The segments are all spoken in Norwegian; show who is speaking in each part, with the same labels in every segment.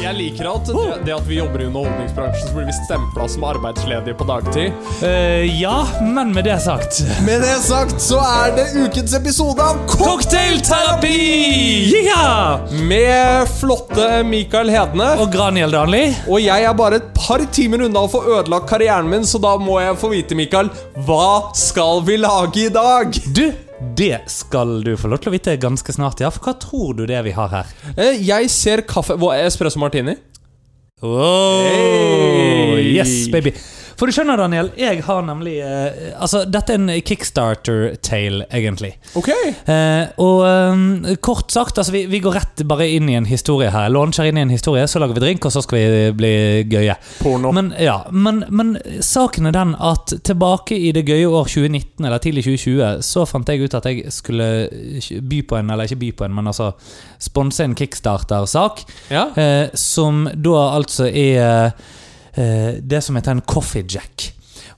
Speaker 1: Jeg liker at det, det at vi jobber i underholdningsbransjen, så blir vi stempla som arbeidsledige på dagtid.
Speaker 2: Eh, ja, men med det sagt
Speaker 1: Med det sagt, så er det ukens episode av Kokk
Speaker 2: Cocktailterapi! Yeah!
Speaker 1: med flotte Mikael Hedne.
Speaker 2: Og Granhild Danli,
Speaker 1: Og jeg er bare et par timer unna å få ødelagt karrieren min, så da må jeg få vite, Mikael, hva skal vi lage i dag?
Speaker 2: du, det skal du få lov til å vite ganske snart, ja. For hva tror du det er vi har her?
Speaker 1: Eh, Jeg ser kaffe Hva, Espresso martini?
Speaker 2: Oh,
Speaker 1: Hey!
Speaker 2: Yes, baby. For du skjønner, Daniel, jeg har nemlig eh, Altså, dette er en kickstarter-tale, egentlig.
Speaker 1: Ok.
Speaker 2: Eh, og eh, kort sagt, altså vi, vi går rett bare inn i en historie her. Launcher inn i en historie, så lager vi drink, og så skal vi bli gøye.
Speaker 1: Porno.
Speaker 2: Men, ja, men, men saken er den at tilbake i det gøye år 2019, eller tidlig 2020, så fant jeg ut at jeg skulle eh, by på en, eller ikke by på en, men altså sponse en kickstarter-sak.
Speaker 1: Ja.
Speaker 2: Eh, som da altså er eh, det som heter en coffee jack.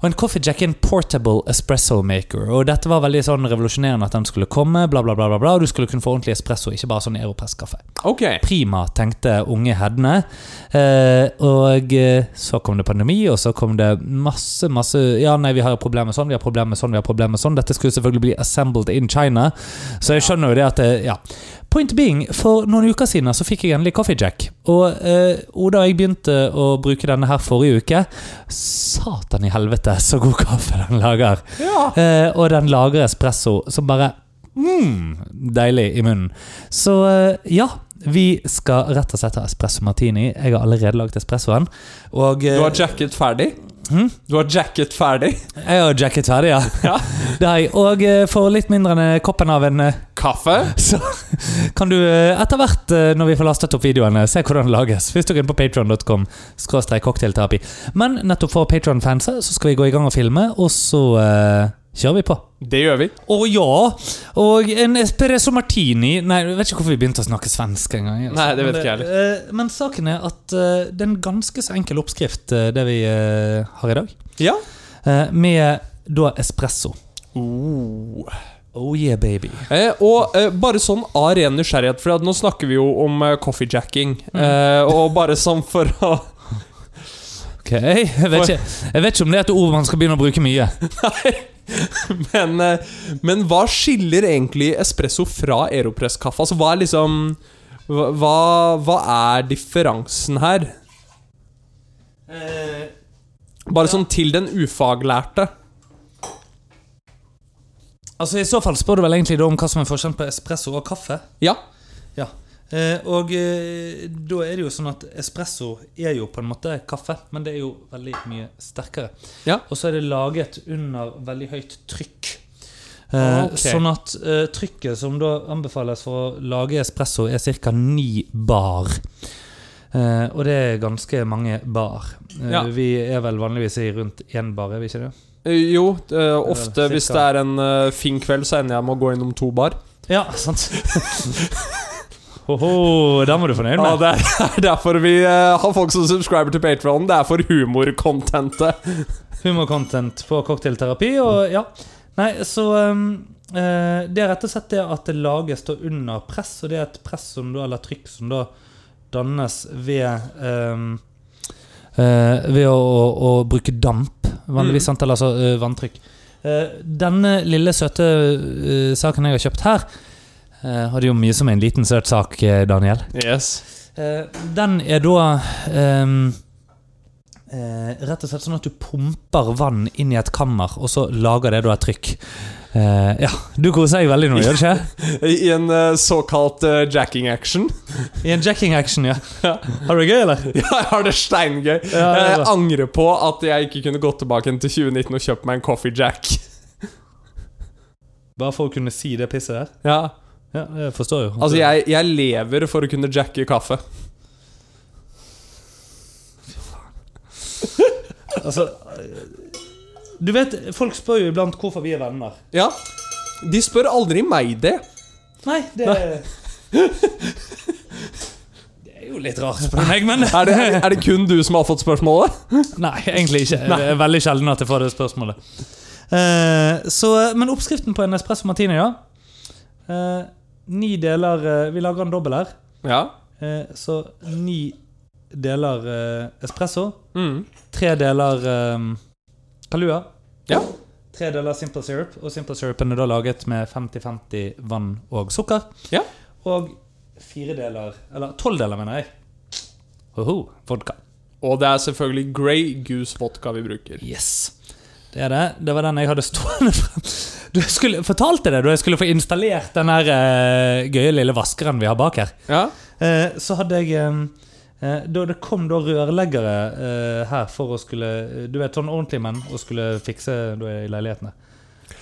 Speaker 2: Og en coffee jack er en portable espresso maker. Og dette var veldig sånn revolusjonerende at den skulle komme. bla bla bla bla, bla og Du skulle kunne få ordentlig espresso, ikke bare sånn Europress-kaffe.
Speaker 1: Ok.
Speaker 2: Prima, tenkte unge Hedne. Eh, og eh, så kom det pandemi, og så kom det masse, masse Ja, nei, vi har jo problemer sånn, vi har problemer sånn, vi har problemer sånn. Dette skulle selvfølgelig bli assembled in China, så jeg skjønner jo det at det, Ja. Point being, for noen uker siden så fikk jeg endelig Coffee Jack. Og eh, Oda og jeg begynte å bruke denne her forrige uke. Satan i helvete, så god kaffe den lager!
Speaker 1: Ja.
Speaker 2: Eh, og den lager espresso som bare mm, Deilig i munnen. Så eh, ja, vi skal rett og slett ha espresso martini. Jeg har allerede lagd espressoen. Og eh,
Speaker 1: Du har jacket ferdig?
Speaker 2: Hm?
Speaker 1: Du har jacket ferdig?
Speaker 2: jeg har jacket ferdig, ja.
Speaker 1: Ja.
Speaker 2: Det har jeg. Og eh, for litt mindre enn eh, koppen av en eh,
Speaker 1: Kaffe?
Speaker 2: så kan du eh, etter hvert, eh, når vi får lastet opp videoene, se hvordan det lages. Hvis du går inn på patreon.com cocktailterapi. Men nettopp for Patreon-fans så skal vi gå i gang og filme, og så eh, kjører vi på.
Speaker 1: Det gjør vi.
Speaker 2: Å ja! Og en espresso martini Nei, jeg vet ikke hvorfor vi begynte å snakke svensk engang. altså.
Speaker 1: Nei, det vet ikke jeg
Speaker 2: Men, eh, Men saken er at eh, det er en ganske så enkel oppskrift, eh, det vi eh, har i dag.
Speaker 1: Ja.
Speaker 2: Eh, Med da espresso.
Speaker 1: Oh.
Speaker 2: Oh yeah, baby.
Speaker 1: Eh, og eh, bare sånn av ren nysgjerrighet, for at nå snakker vi jo om eh, coffeejacking. Eh, og bare sånn for å
Speaker 2: Ok, jeg vet, ikke, jeg vet ikke om det er et ord man skal begynne å bruke mye.
Speaker 1: men, eh, men hva skiller egentlig espresso fra Aeropress-kaffe? Altså hva er liksom hva, hva- hva er differansen her? Eh. Bare sånn til den ufaglærte.
Speaker 2: Altså I så fall spør du vel egentlig da om hva som er forskjellen på espresso og kaffe?
Speaker 1: Ja.
Speaker 2: Ja. Eh, og eh, da er det jo sånn at espresso er jo på en måte kaffe, men det er jo veldig mye sterkere.
Speaker 1: Ja.
Speaker 2: Og så er det laget under veldig høyt trykk. Eh,
Speaker 1: Ok.
Speaker 2: Sånn at eh, trykket som da anbefales for å lage espresso, er ca. 9 bar. Eh, og det er ganske mange bar. Eh,
Speaker 1: Ja.
Speaker 2: Vi er vel vanligvis i rundt én bar, er vi ikke det?
Speaker 1: Eh, Jo, eh, ofte hvis det
Speaker 2: cirka.
Speaker 1: er en eh, fin kveld, så ender jeg med å gå innom to bar.
Speaker 2: Ja, sant. Hoho, den var du fornøyd
Speaker 1: Ja,
Speaker 2: med.
Speaker 1: det er derfor vi eh, har folk som subscriber til Patreon. Det er for humorcontentet.
Speaker 2: Humorcontent på cocktailterapi. Og ja. Nei, så um, eh, Det er rett og slett det at det lages da under press, og det er et press som da, eller trykk som da dannes ved um, eh, Ved å, å, å bruke damp,
Speaker 1: Mm.
Speaker 2: vanligvis, sant? eller altså eh, vanntrykk. Eh, denne lille, søte eh, saken jeg har kjøpt her, eh, hadde jo mye som en liten, søt sak, eh, Daniel.
Speaker 1: Yes.
Speaker 2: Eh, den er da ehm, eh, rett og slett sånn at du pumper vann inn i et kammer, og så lager det da et trykk. Eh, ja, Du koser deg veldig nå, gjør du ikke?
Speaker 1: I en eh, såkalt eh, jacking action.
Speaker 2: I en jacking action, ja. Har du det gøy, eller?
Speaker 1: Ja, jeg har det steingøy.
Speaker 2: Ja, det er
Speaker 1: jeg
Speaker 2: bra.
Speaker 1: angrer på at jeg ikke kunne gått tilbake igjen til 2019 og kjøpt meg en coffee jack.
Speaker 2: Bare for å kunne si det pisset der?
Speaker 1: Ja.
Speaker 2: Ja, jeg forstår jo.
Speaker 1: Altså, jeg, jeg lever for å kunne jacke kaffe.
Speaker 2: Altså, eh, du vet, Folk spør jo iblant hvorfor vi er venner.
Speaker 1: Ja. De spør aldri meg det.
Speaker 2: Nei, det Det er jo litt rart, spør du meg, men
Speaker 1: Er det, er det kun du som har fått spørsmålet?
Speaker 2: Nei, egentlig ikke. Det er veldig sjelden at jeg får det spørsmålet. Eh, så, men oppskriften på en espresso martini, ja. Eh, ni deler eh, Vi lager en dobbel her.
Speaker 1: Ja.
Speaker 2: Eh, så ni deler eh, espresso,
Speaker 1: Mm.
Speaker 2: tre deler eh, Kalua,
Speaker 1: Ja.
Speaker 2: tre deler simple syrup, og simple syrupen er da laget med 50-50 vann og sukker.
Speaker 1: Ja.
Speaker 2: Og fire deler Eller tolv deler, mener jeg. Hoho, vodka.
Speaker 1: Og det er selvfølgelig Grey Goose vodka vi bruker.
Speaker 2: Yes. Det er det. Det var den jeg hadde stående frem. Du jeg skulle, fortalte det da jeg skulle få installert den der eh, gøye lille vaskeren vi har bak her.
Speaker 1: Ja.
Speaker 2: Eh, så hadde jeg eh, eh, Da det kom da rørleggere eh, her for å skulle Du vet, sånn ordentlig menn og skulle fikse da i leilighetene.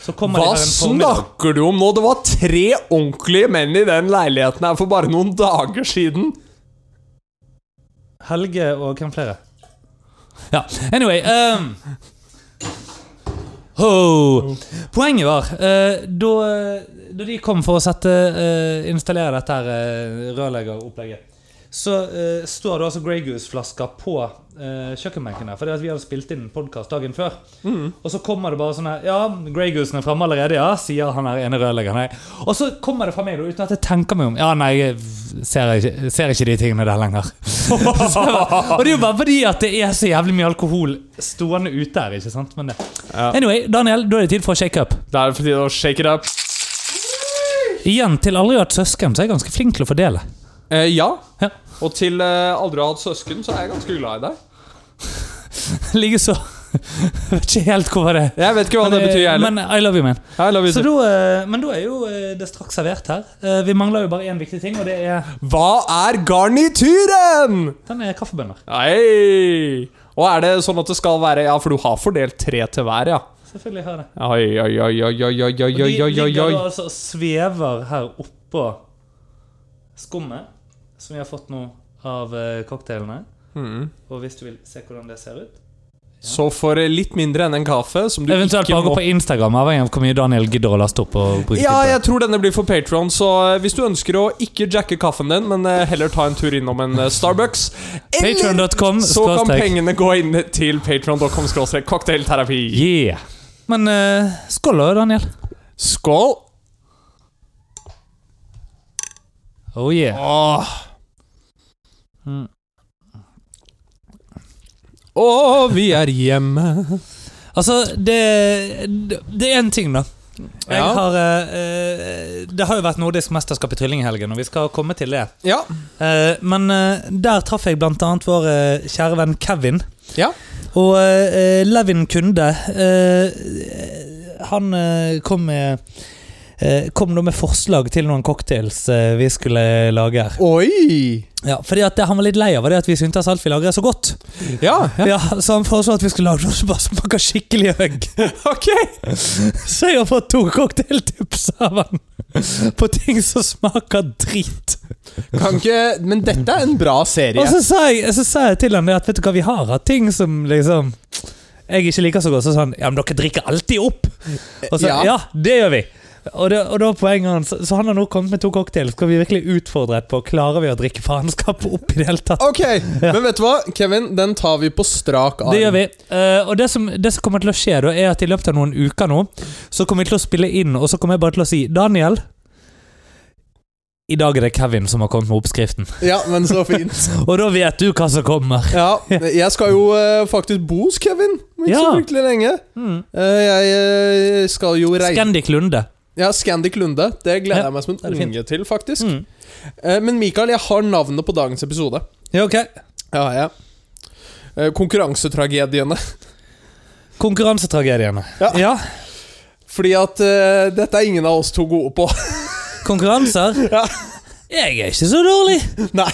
Speaker 2: Så kommer
Speaker 1: Hva
Speaker 2: de her en formiddag.
Speaker 1: snakker du om nå? Det var tre ordentlige menn i den leiligheten her for bare noen dager siden.
Speaker 2: Helge og hvem flere? Ja, anyway um, ho. Poenget var eh, da, da de kom for å sette, eh, installere dette her eh, rørleggeropplegget, så eh, står det altså Grey Goose-flasker på eh, kjøkkenbenken der. Fordi at vi hadde spilt inn podkast dagen før. Og så kommer det bare sånn her Ja, Grey Goosen er framme allerede, ja, sier han her ene rørleggeren. Nei. Og så kommer det fra meg, da, uten at jeg tenker meg om. Ja, nei, jeg ser ikke, ser ikke de tingene der lenger. Så jeg bare- og det er jo bare fordi at det er så jævlig mye alkohol stående ute her, ikke sant. Men det.
Speaker 1: Ja.
Speaker 2: Anyway, Daniel, da er det tid for shakeup.
Speaker 1: Det er fordi å shake it up.
Speaker 2: Igjen, til aldri har hatt søsken, så er jeg ganske flink til å fordele.
Speaker 1: Eh, ja.
Speaker 2: Ja.
Speaker 1: Og til eh, aldri å ha hatt søsken, så er jeg ganske glad i deg.
Speaker 2: Likeså Vet ikke helt hvor var det
Speaker 1: Jeg vet ikke hva det betyr, jeg heller.
Speaker 2: Men I love you, man.
Speaker 1: Hei, love you
Speaker 2: Så
Speaker 1: too.
Speaker 2: da, eh, men da er jo eh, det straks servert her. Eh, Vi mangler jo bare én viktig ting, og det er
Speaker 1: Hva er garnituren?
Speaker 2: den er kaffebønner.
Speaker 1: Hei! Og er det sånn at det skal være Ja, for du har fordelt tre til hver, ja.
Speaker 2: Selvfølgelig har jeg det.
Speaker 1: Oi, oi, oi, oi, oi, oi, oi,
Speaker 2: Og de
Speaker 1: oi, oi, oi,
Speaker 2: ligger
Speaker 1: oi.
Speaker 2: da altså og svever her oppå skummet, som vi har fått nå av eh, cocktailene.
Speaker 1: Mhm.
Speaker 2: Og hvis du vil se hvordan det ser ut
Speaker 1: Så for eh, litt mindre enn en kaffe, som du
Speaker 2: Eventuelt
Speaker 1: ikke
Speaker 2: bare gå
Speaker 1: må
Speaker 2: på Instagram, avhengig av hvor mye Daniel gidder å laste opp. og bruke
Speaker 1: Ja,
Speaker 2: tid på det.
Speaker 1: jeg tror denne blir for Patron, så eh, hvis du ønsker å ikke jacke kaffen din, men eh, heller ta en tur innom en eh, Starbucks, eller
Speaker 2: Patreon.com
Speaker 1: så kan
Speaker 2: skråstrek.
Speaker 1: pengene gå inn til patron.com cocktailterapi.
Speaker 2: Yeah. Men eh, skål da, Daniel.
Speaker 1: Skål!
Speaker 2: Oh yeah.
Speaker 1: Åh.
Speaker 2: Mm.
Speaker 1: Åh, vi er hjemme.
Speaker 2: Altså, det, det det er én ting, da. Jeg
Speaker 1: Ja.
Speaker 2: har, eh, eh, det har jo vært nordisk mesterskap i trilling i helgen, og vi skal komme til det.
Speaker 1: Ja.
Speaker 2: Eh, men eh, der traff jeg blant annet vår eh, kjære venn Kevin.
Speaker 1: Ja.
Speaker 2: Og eh, Levin Kunde eh, Han eh, kom med eh, Kom da med forslag til noen cocktails eh, vi skulle lage her.
Speaker 1: Oi!
Speaker 2: Ja, fordi at det han var litt lei av, var det at vi syntes alt vi lager, er så godt.
Speaker 1: Ja,
Speaker 2: Ja. Så han foreslo at vi skulle lage noe som bare smaker skikkelig høgg.
Speaker 1: ok.
Speaker 2: Så jeg har fått to cocktailtips av han på ting som smaker drit.
Speaker 1: Kan ikke Men dette er en bra serie.
Speaker 2: Og så sa jeg, så sa jeg til han det at vet du hva, vi har hatt ting som liksom jeg ikke liker så godt. Så sa han ja, men dere drikker alltid opp. Og så, altså, ja.
Speaker 1: Ja.
Speaker 2: det gjør vi. Og, det, og da var poenget hans Så han har nå kommet med to cocktails. Skal vi virkelig utfordre på Klarer vi å drikke faenskap opp i det hele tatt?
Speaker 1: Ok, men vet du hva, Kevin? Den tar vi på strak arm.
Speaker 2: Det gjør vi. Eh, og det som, det som kommer til å skje, da, er at i løpet av noen uker nå, så kommer vi til å spille inn, og så kommer jeg bare til å si Daniel. I dag er det Kevin som har kommet med oppskriften.
Speaker 1: Ja, men så fint.
Speaker 2: Og da vet du hva som kommer.
Speaker 1: Ja, jeg skal jo eh, faktisk bo hos Kevin om ikke
Speaker 2: Ja.
Speaker 1: så fryktelig lenge.
Speaker 2: Mm.
Speaker 1: Eh, jeg eh, skal jo reise
Speaker 2: Scandic Lunde.
Speaker 1: Ja, Scandic Lunde. Det gleder
Speaker 2: Ja,
Speaker 1: jeg meg som
Speaker 2: det er
Speaker 1: en
Speaker 2: fint.
Speaker 1: unge til, faktisk.
Speaker 2: Mm.
Speaker 1: Eh, men Mikael, jeg har navnet på dagens episode.
Speaker 2: Ja, ok.
Speaker 1: Ja, ja. Eh, konkurransetragediene.
Speaker 2: Konkurransetragediene.
Speaker 1: Ja.
Speaker 2: ja.
Speaker 1: Fordi at eh, dette er ingen av oss to gode på.
Speaker 2: Konkurranser?
Speaker 1: Ja.
Speaker 2: Jeg er ikke så dårlig.
Speaker 1: Nei.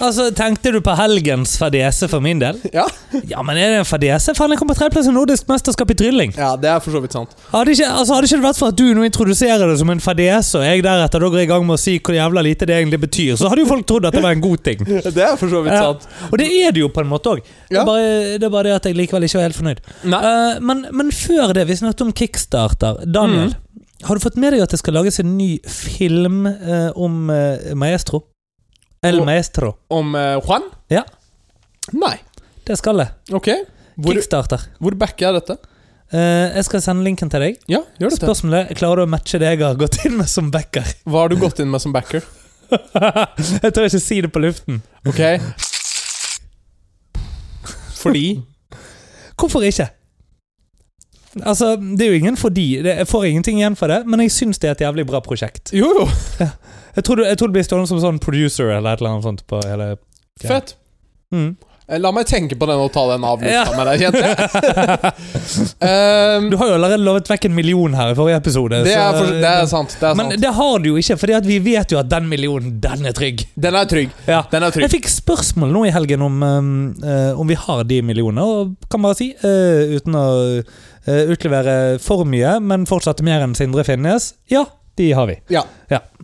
Speaker 2: Altså, Tenkte du på helgens fadese for min del?
Speaker 1: Ja.
Speaker 2: Ja, men er det en fadese? Faen, jeg kom på tredjeplass i nordisk mesterskap i trylling.
Speaker 1: ja, det er for så vidt sant.
Speaker 2: Hadde ikke, altså, hadde ikke det vært for at du nå introduserer det som en fadese, og jeg deretter da går i gang med å si hvor jævla lite det egentlig betyr, så hadde jo folk trodd at det var en god ting.
Speaker 1: Det er for så vidt
Speaker 2: Ja.
Speaker 1: sant.
Speaker 2: Og det er det jo på en måte òg. Det, er
Speaker 1: Ja.
Speaker 2: bare- det er bare det at jeg likevel ikke var helt fornøyd.
Speaker 1: Nei.
Speaker 2: Eh, men, men før det, vi snakket om kickstarter. Daniel, har du fått med deg at det skal lages en ny film eh, om eh, Maestro? El
Speaker 1: Og-
Speaker 2: Maestro.
Speaker 1: Om eh, Juan?
Speaker 2: Ja.
Speaker 1: Nei.
Speaker 2: Det skal det.
Speaker 1: Ok. Hvor,
Speaker 2: Kickstarter.
Speaker 1: hvor backer jeg dette?
Speaker 2: Eh, jeg skal sende linken til deg.
Speaker 1: Ja, gjør dette.
Speaker 2: Spørsmålet er klarer du å matche det jeg har gått inn med som backer.
Speaker 1: Hva har du gått inn med som backer?
Speaker 2: jeg tør ikke si det på luften.
Speaker 1: Ok. Fordi
Speaker 2: Hvorfor ikke? Altså, Det er jo ingen fordi. Det, jeg får ingenting igjen for det, men jeg syns det er et jævlig bra prosjekt.
Speaker 1: Jo, jo.
Speaker 2: Jeg tror, du, jeg tror det blir stående som sånn producer eller et eller annet sånt. på hele... Ja.
Speaker 1: Fett.
Speaker 2: Mm.
Speaker 1: Eh, La meg tenke på den og ta den av lufta
Speaker 2: Ja.
Speaker 1: med deg, kjente jeg. Ehm,
Speaker 2: Du har jo allerede lovet vekk en million her i forrige episode.
Speaker 1: det, er
Speaker 2: så-
Speaker 1: for, det er sant. Det er
Speaker 2: men
Speaker 1: sant.
Speaker 2: det har du jo ikke, fordi at vi vet jo at den millionen, den er trygg.
Speaker 1: Den er trygg.
Speaker 2: Ja.
Speaker 1: Den er
Speaker 2: Jeg
Speaker 1: trygg.
Speaker 2: fikk spørsmål nå i helgen om, um, eh, om vi har de millionene, og kan bare si, eh, uten å eh, utlevere for mye, men fortsatt mer enn Sindre finnes, ja, de har vi.
Speaker 1: Ja.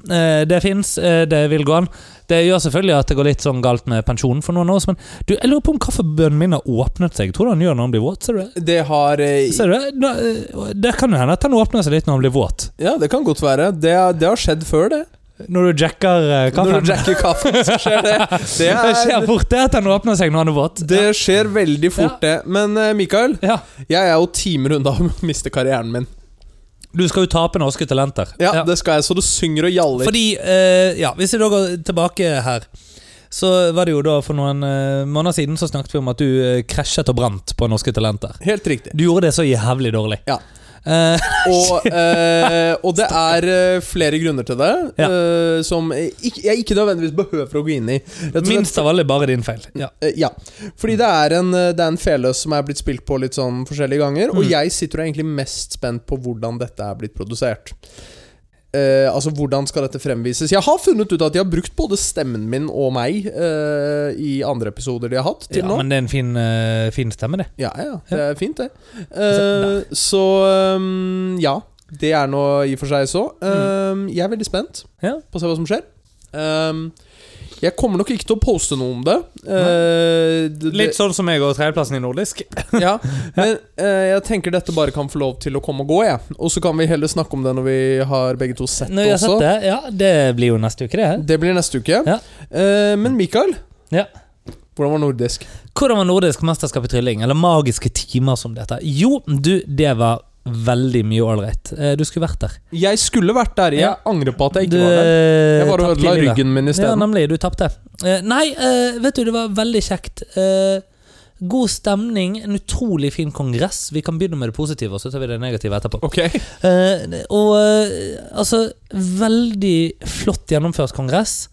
Speaker 2: Eh, det fins, det vil gå an. Det gjør selvfølgelig at det går litt sånn galt med pensjonen for noen av oss, men du, jeg lurer på om kaffebønnen min har åpnet seg. Tror du han gjør når han blir våt? Ser du det?
Speaker 1: Det har eh,
Speaker 2: Ser du det? Nå, eh, det kan jo hende at han åpner seg litt når han blir våt.
Speaker 1: Ja, det kan godt være. Det, er- det har skjedd før, det.
Speaker 2: Når du jacker eh,
Speaker 1: Når du
Speaker 2: kaffen.
Speaker 1: jacker kaffen, så skjer det. Det,
Speaker 2: Det skjer
Speaker 1: er,
Speaker 2: fort det at han åpner seg når han er våt.
Speaker 1: det skjer veldig fort, det. Men eh, Mikael,
Speaker 2: Ja.
Speaker 1: jeg er jo timer unna å miste karrieren min.
Speaker 2: Du skal jo tape norske talenter.
Speaker 1: Ja, det skal jeg, så det synger og gjaller.
Speaker 2: Fordi, eh, ja, Hvis vi da går tilbake her, så var det jo da for noen eh, måneder siden så snakket vi om at du eh, krasjet og brant på norske talenter.
Speaker 1: Helt riktig.
Speaker 2: Du gjorde det så jævlig dårlig.
Speaker 1: Ja.
Speaker 2: Eh,
Speaker 1: Og, eh, og det er eh, flere grunner til det,
Speaker 2: Ja.
Speaker 1: eh, som jeg ikke- jeg ikke nødvendigvis behøver å gå inn i. Rett og slett-
Speaker 2: minst av alle bare din feil. Ja.
Speaker 1: Eh, Ja. Fordi det er en, eh, det er en fele som er blitt spilt på litt sånn forskjellige ganger, og
Speaker 2: Mm.
Speaker 1: jeg sitter og er egentlig mest spent på hvordan dette er blitt produsert. Eh, altså, hvordan skal dette fremvises? Jeg har funnet ut at de har brukt både stemmen min og meg eh, i andre episoder de har hatt til
Speaker 2: ja,
Speaker 1: nå.
Speaker 2: men det er en fin, eh, fin stemme, det.
Speaker 1: Ja, ja,
Speaker 2: Ja.
Speaker 1: det er fint det Eh, Så ehm, ja, det er nå i og for seg så
Speaker 2: Mm.
Speaker 1: Ehm, Jeg er veldig spent
Speaker 2: Ja.
Speaker 1: på å se hva som skjer Ehm, Jeg kommer nok ikke til å poste noe om det Eh, det- det-
Speaker 2: Litt sånn som meg og tredjeplassen i nordisk.
Speaker 1: ja, Men eh, jeg tenker dette bare kan få lov til å komme og gå jeg. Og så kan vi heller snakke om det når vi har begge to sett
Speaker 2: Når vi
Speaker 1: det
Speaker 2: har sett
Speaker 1: også
Speaker 2: det, ja, det blir jo neste uke, det. her.
Speaker 1: Det blir neste uke
Speaker 2: Ja.
Speaker 1: Eh, Men Mikael
Speaker 2: Ja.
Speaker 1: Hvordan var nordisk?
Speaker 2: Hvordan var nordisk mesterskap i trylling, eller magiske timer som det heter? Jo, du, det var veldig mye ålreit. Eh, Du skulle vært der.
Speaker 1: Jeg skulle vært der, jeg
Speaker 2: Ja.
Speaker 1: angrer på at jeg
Speaker 2: Du,
Speaker 1: ikke var der Jeg bare
Speaker 2: eh, tapte
Speaker 1: ødela
Speaker 2: livet.
Speaker 1: ryggen min i stedet
Speaker 2: Ja, nemlig. Du tapte. Eh, Nei, eh, vet du, det var veldig kjekt. Eh, God stemning, en utrolig fin kongress. Vi kan begynne med det positive, og så tar vi det negative etterpå.
Speaker 1: Ok
Speaker 2: Eh, og eh, altså Veldig flott gjennomført kongress.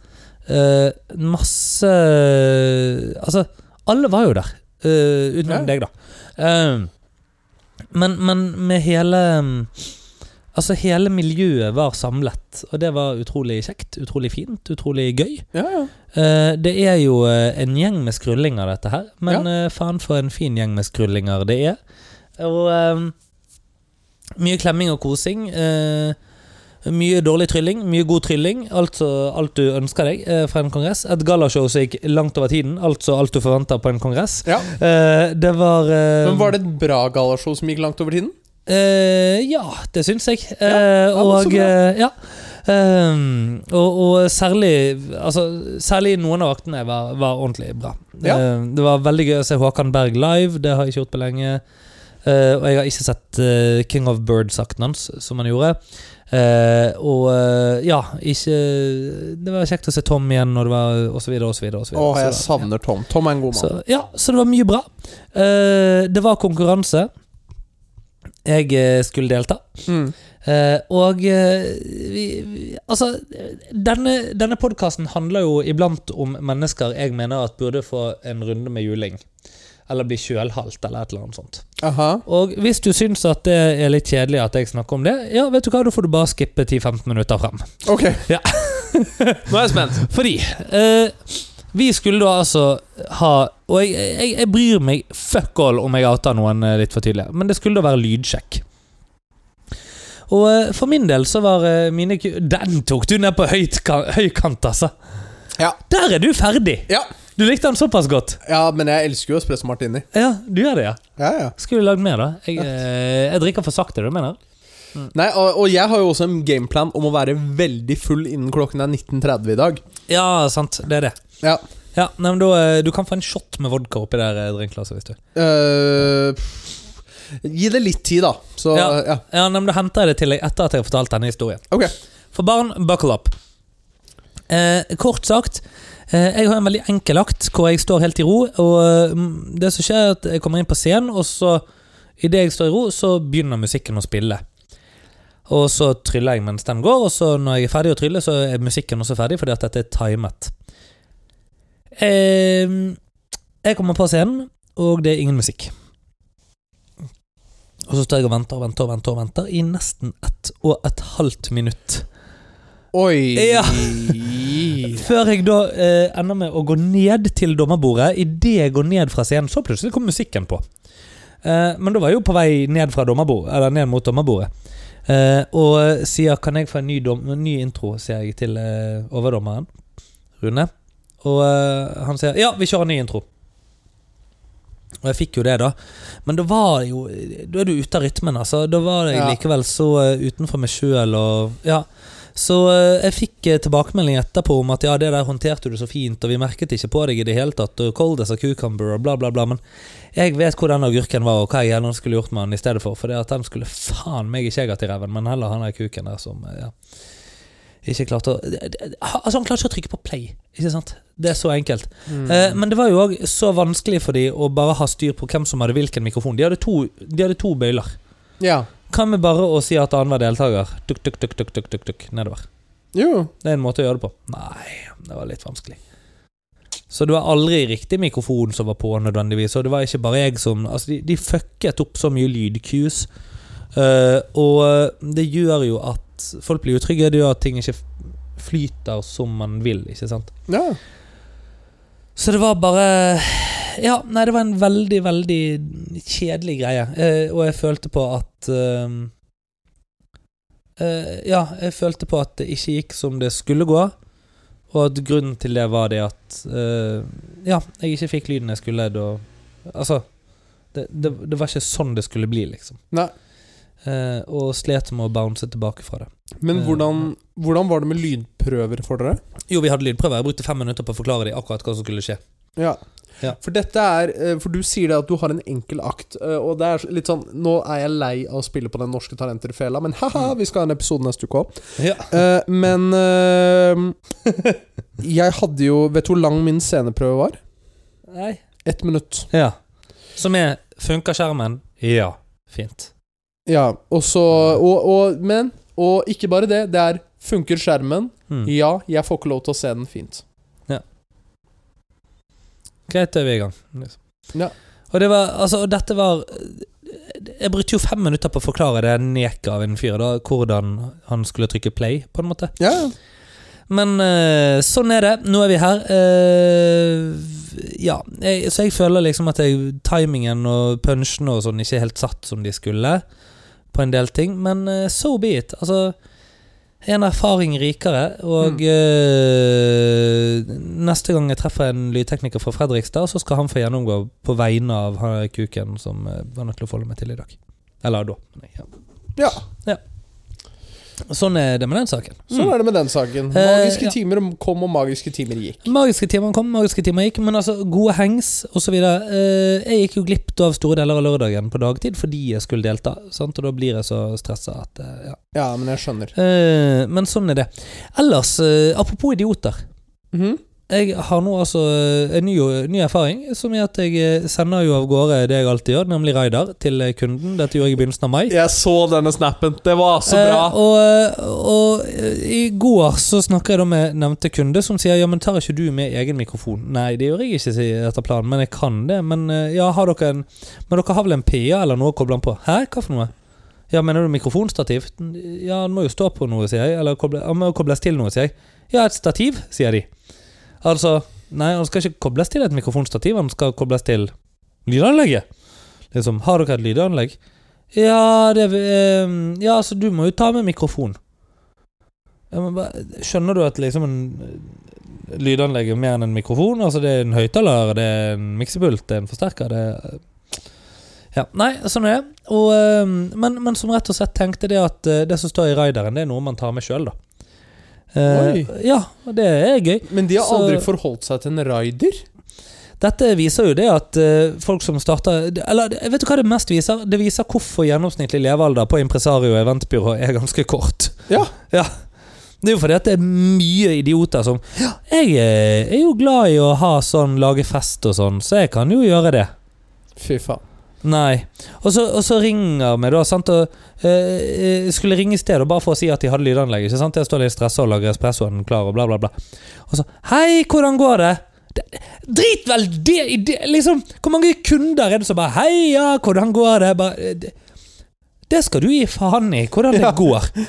Speaker 2: Eh, masse Altså, alle var jo der, eh, utenom
Speaker 1: Ja.
Speaker 2: deg, da. Eh, men, men med hele mm, Altså, hele miljøet var samlet, og det var utrolig kjekt. Utrolig fint, utrolig gøy.
Speaker 1: Ja, ja
Speaker 2: Eh, det er jo eh, en gjeng med skrullinger, dette her. Men eh, faen for en fin gjeng med skrullinger det er. Og eh, mye klemming og kosing. eh, mye dårlig trylling, mye god trylling. Altså alt du ønsker deg eh, fra en kongress. Et gallashow som gikk langt over tiden. Altså alt du forventer på en kongress.
Speaker 1: Ja.
Speaker 2: Eh, det var eh,
Speaker 1: Men var det et bra galashow som gikk langt over tiden?
Speaker 2: Eh, ja, det syns jeg. Eh,
Speaker 1: det var så
Speaker 2: og
Speaker 1: bra.
Speaker 2: eh, ja. Ehm, og, og særlig altså, Særlig noen av aktene var, var ordentlig bra.
Speaker 1: Ja.
Speaker 2: Eh, det var veldig gøy å se Håkan Berg live. Det har jeg ikke gjort på lenge. Eh, og jeg har ikke sett eh, King of Birds-akten hans, som han gjorde. Eh, og eh, ja, ikke Det var kjekt å se Tom igjen, og det var og så videre, og så videre. og så videre. Så
Speaker 1: Åh, jeg
Speaker 2: det var-
Speaker 1: savner Tom. Tom er en god mann.
Speaker 2: så, ja, så det var mye bra. Eh, det var konkurranse. Jeg eh, skulle delta.
Speaker 1: Mm.
Speaker 2: Eh, og eh, vi, vi, Altså, denne, denne podkasten handler jo iblant om mennesker jeg mener at burde få en runde med juling. Eller bli kjølhalt, eller et eller annet sånt.
Speaker 1: Aha.
Speaker 2: Og hvis du syns at det er litt kjedelig at jeg snakker om det, ja, vet du hva, da får du bare skippe 10-15 minutter frem.
Speaker 1: Ok.
Speaker 2: Ja.
Speaker 1: Nå er jeg spent.
Speaker 2: Fordi eh, vi skulle da altså ha Og jeg, jeg, jeg bryr meg fuck all om jeg outer noen eh, litt for tidlig, men det skulle da være lydsjekk. Og eh, for min del så var eh, mine ku- Den tok du ned på høyt, ka- høykant, altså.
Speaker 1: Ja.
Speaker 2: Der er du ferdig!
Speaker 1: Ja.
Speaker 2: Du likte den såpass godt.
Speaker 1: ja, men jeg elsker jo espresso martini.
Speaker 2: Ja, du gjør det, ja.
Speaker 1: Ja, ja.
Speaker 2: Skulle lagd mer, da. Jeg, eh, jeg drikker for sakte, du mener?
Speaker 1: Nei, og, og jeg har jo også en gameplan om å være veldig full innen klokken er 19.30 i dag.
Speaker 2: Ja, sant. Det er det.
Speaker 1: Ja.
Speaker 2: Ja, nei, men da, eh, Du kan få en shot med vodka oppi der, eh, drinkglasset, hvis du
Speaker 1: Eh, gi det litt tid, da. Så ja.
Speaker 2: Ja. Ja, nei, men Da henter jeg det til deg etter at jeg har fortalt denne historien.
Speaker 1: Ok.
Speaker 2: For barn, buckle up. Eh, kort sagt, Eh, Jeg har en veldig enkel akt hvor jeg står helt i ro. Og mm, det som skjer er at Jeg kommer inn på scenen, og så idet jeg står i ro, så begynner musikken å spille. Og så tryller jeg mens den går, og så når jeg er ferdig å trylle, så er musikken også ferdig, fordi at dette er timet. Eh, Jeg kommer på scenen, og det er ingen musikk. Og så står jeg og venter og venter og venter, og venter i nesten ett og et halvt minutt.
Speaker 1: Oi!
Speaker 2: Ja. Før jeg da eh, ender med å gå ned til dommerbordet. Idet jeg går ned fra scenen, så plutselig kom musikken på. Eh, men da var jeg jo på vei ned, fra dommerbord, eller ned mot dommerbordet. Eh, og sier 'Kan jeg få en ny, dom ny intro?' sier jeg til eh, overdommeren, Rune. Og eh, han sier 'Ja, vi kjører en ny intro'. Og jeg fikk jo det, da. Men da var det jo Da er du ute av rytmen, altså. Da var jeg
Speaker 1: Ja.
Speaker 2: likevel så eh, utenfor meg sjøl og Ja. Så eh, jeg fikk eh, tilbakemelding etterpå om at ja, det der håndterte du så fint, og vi merket ikke på deg i det hele tatt, og cold as a cucumber og bla, bla, bla. Men jeg vet hvor den agurken var, og hva jeg gjerne skulle gjort med den i stedet for. For det at den skulle faen meg ikke jeg hatt i ræven, men heller han der kuken der som eh, ja, ikke klarte å Altså, han klarte ikke å trykke på play, ikke sant? Det er så enkelt.
Speaker 1: Mm.
Speaker 2: Eh, Men det var jo òg så vanskelig for de å bare ha styr på hvem som hadde hvilken mikrofon. De hadde to, de hadde to bøyler.
Speaker 1: ja.
Speaker 2: Hva med bare å si at annenhver deltaker duk, duk, duk, duk, duk, duk, duk, nedover?
Speaker 1: Jo.
Speaker 2: Det er en måte å gjøre det på. Nei, det var litt vanskelig. Så det var aldri riktig mikrofon som var på, nødvendigvis. Og det var ikke bare jeg som Altså, de, de fucket opp så mye lydcues. Eh, og det gjør jo at folk blir utrygge. Det gjør at ting ikke f- flyter som man vil, ikke sant.
Speaker 1: Ja.
Speaker 2: Så det var bare Ja, nei, det var en veldig, veldig kjedelig greie. Eh, og jeg følte på at eh, eh, Ja, jeg følte på at det ikke gikk som det skulle gå. Og at grunnen til det var det at eh, Ja, jeg ikke fikk lyden jeg skulle. Da, altså det, det, det var ikke sånn det skulle bli, liksom.
Speaker 1: Nei.
Speaker 2: Eh, og slet med å bounce tilbake fra det.
Speaker 1: Men
Speaker 2: Eh,
Speaker 1: hvordan, hvordan var det med lydprøver for dere?
Speaker 2: Jo, vi hadde lydprøver. Jeg brukte fem minutter på å forklare dem akkurat hva som skulle skje.
Speaker 1: Ja.
Speaker 2: Ja.
Speaker 1: For dette er eh, For du sier det at du har en enkel akt, eh, og det er litt sånn Nå er jeg lei av å spille på den norske talenterfela, men haha, vi skal ha en episode neste uke òg.
Speaker 2: Ja.
Speaker 1: men eh, Jeg hadde jo Vet du hvor lang min sceneprøve var?
Speaker 2: Nei.
Speaker 1: Ett minutt.
Speaker 2: Ja. Som er Funker skjermen? Ja. Fint.
Speaker 1: Ja, og så og, og, Men Og ikke bare det. Det er Funker skjermen?
Speaker 2: Mm.
Speaker 1: Ja, jeg får ikke lov til å se den fint.
Speaker 2: Greit, da er vi i gang. Liksom.
Speaker 1: Ja.
Speaker 2: Og det var, altså, og dette var Jeg brukte jo fem minutter på å forklare det neket av en fyr, da, hvordan han skulle trykke play, på en måte.
Speaker 1: Ja,
Speaker 2: Men eh, sånn er det. Nå er vi her. Eh, ja. Jeg, så jeg føler liksom at jeg, timingen og punchene og sånn ikke er helt satt som de skulle på en del ting, men eh, so be it. Altså en erfaring rikere, og eh, neste gang jeg treffer en lydtekniker fra Fredrikstad, så skal han få gjennomgå på vegne av han kuken som eh, var nødt til å forholde meg til i dag. Eller da. men Ja.
Speaker 1: ja.
Speaker 2: Sånn er det med den saken.
Speaker 1: Sånn er det med den saken.
Speaker 2: Eh,
Speaker 1: Magiske
Speaker 2: ja.
Speaker 1: timer kom, og magiske timer gikk.
Speaker 2: Magiske timer kom, magiske timer gikk, men altså, gode hengs osv. Uh, jeg gikk jo glipp av store deler av lørdagen på dagtid fordi jeg skulle delta, sant? og da blir jeg så stressa at eh, ja.
Speaker 1: Ja, men jeg skjønner.
Speaker 2: Eh, men sånn er det. Ellers, eh, apropos idioter.
Speaker 1: Mhm.
Speaker 2: Jeg har nå altså eh, en ny, ny erfaring, som er at jeg eh, sender jo av gårde det jeg alltid gjør, nemlig Raidar, til eh, kunden. Dette gjorde jeg i begynnelsen av mai.
Speaker 1: Jeg så denne snappen. Det var så
Speaker 2: Eh, og, og eh, i går så snakker jeg da med nevnte kunde, som sier ja, men tar ikke du med egen mikrofon? Nei, det gjør jeg ikke, sier etter planen, men jeg kan det. Men eh, ja, har dere en Men dere har vel en PA eller noe å koble den på? Hæ, hva for noe? Ja, mener du mikrofonstativ? Ja, den må jo stå på noe, sier jeg. Eller koble, ja, må jo kobles til noe, sier jeg. Ja, et stativ, sier de. Altså, nei, han skal ikke kobles til et mikrofonstativ, han skal kobles til lydanlegget. Liksom, har dere et lydanlegg? Ja, det eh, Ja, altså, du må jo ta med mikrofon. Ja, men hva- Skjønner du at liksom en eh, lydanlegg er mer enn en mikrofon? Altså, det er en høyttaler, det er en miksepult, det er en forsterker, det er Ja, nei, sånn er det. Og, eh, men, men som rett og slett tenkte det at eh, det som står i raideren, det er noe man tar med sjøl, da. Eh, ja, og det er gøy.
Speaker 1: Men de har
Speaker 2: Så-
Speaker 1: aldri forholdt seg til en raider.
Speaker 2: Dette viser jo det at eh, folk som starter Eller vet du hva det mest viser? Det viser hvorfor gjennomsnittlig levealder på impresario og eventbyrå er ganske kort.
Speaker 1: Ja.
Speaker 2: Det er jo fordi at det er mye idioter som «Ja, Jeg eh, er jo glad i å ha sånn, lage fest og sånn, så jeg kan jo gjøre det.
Speaker 1: Fy faen.
Speaker 2: Nei. Og så, og så ringer vi, da. Sant? Og, eh, eh, skulle ringe i sted og bare for å si at de hadde lydanlegg. Ikke sant? Jeg står litt stressa og lager espressoen klar og bla, bla, bla. Og så Hei, hvordan går det? Det- Drit vel det i det! Liksom, hvor mange kunder er det som bare Hei, ja, hvordan går det? Bare, eh, det, det skal du gi faen i, hvordan det
Speaker 1: Ja.
Speaker 2: går.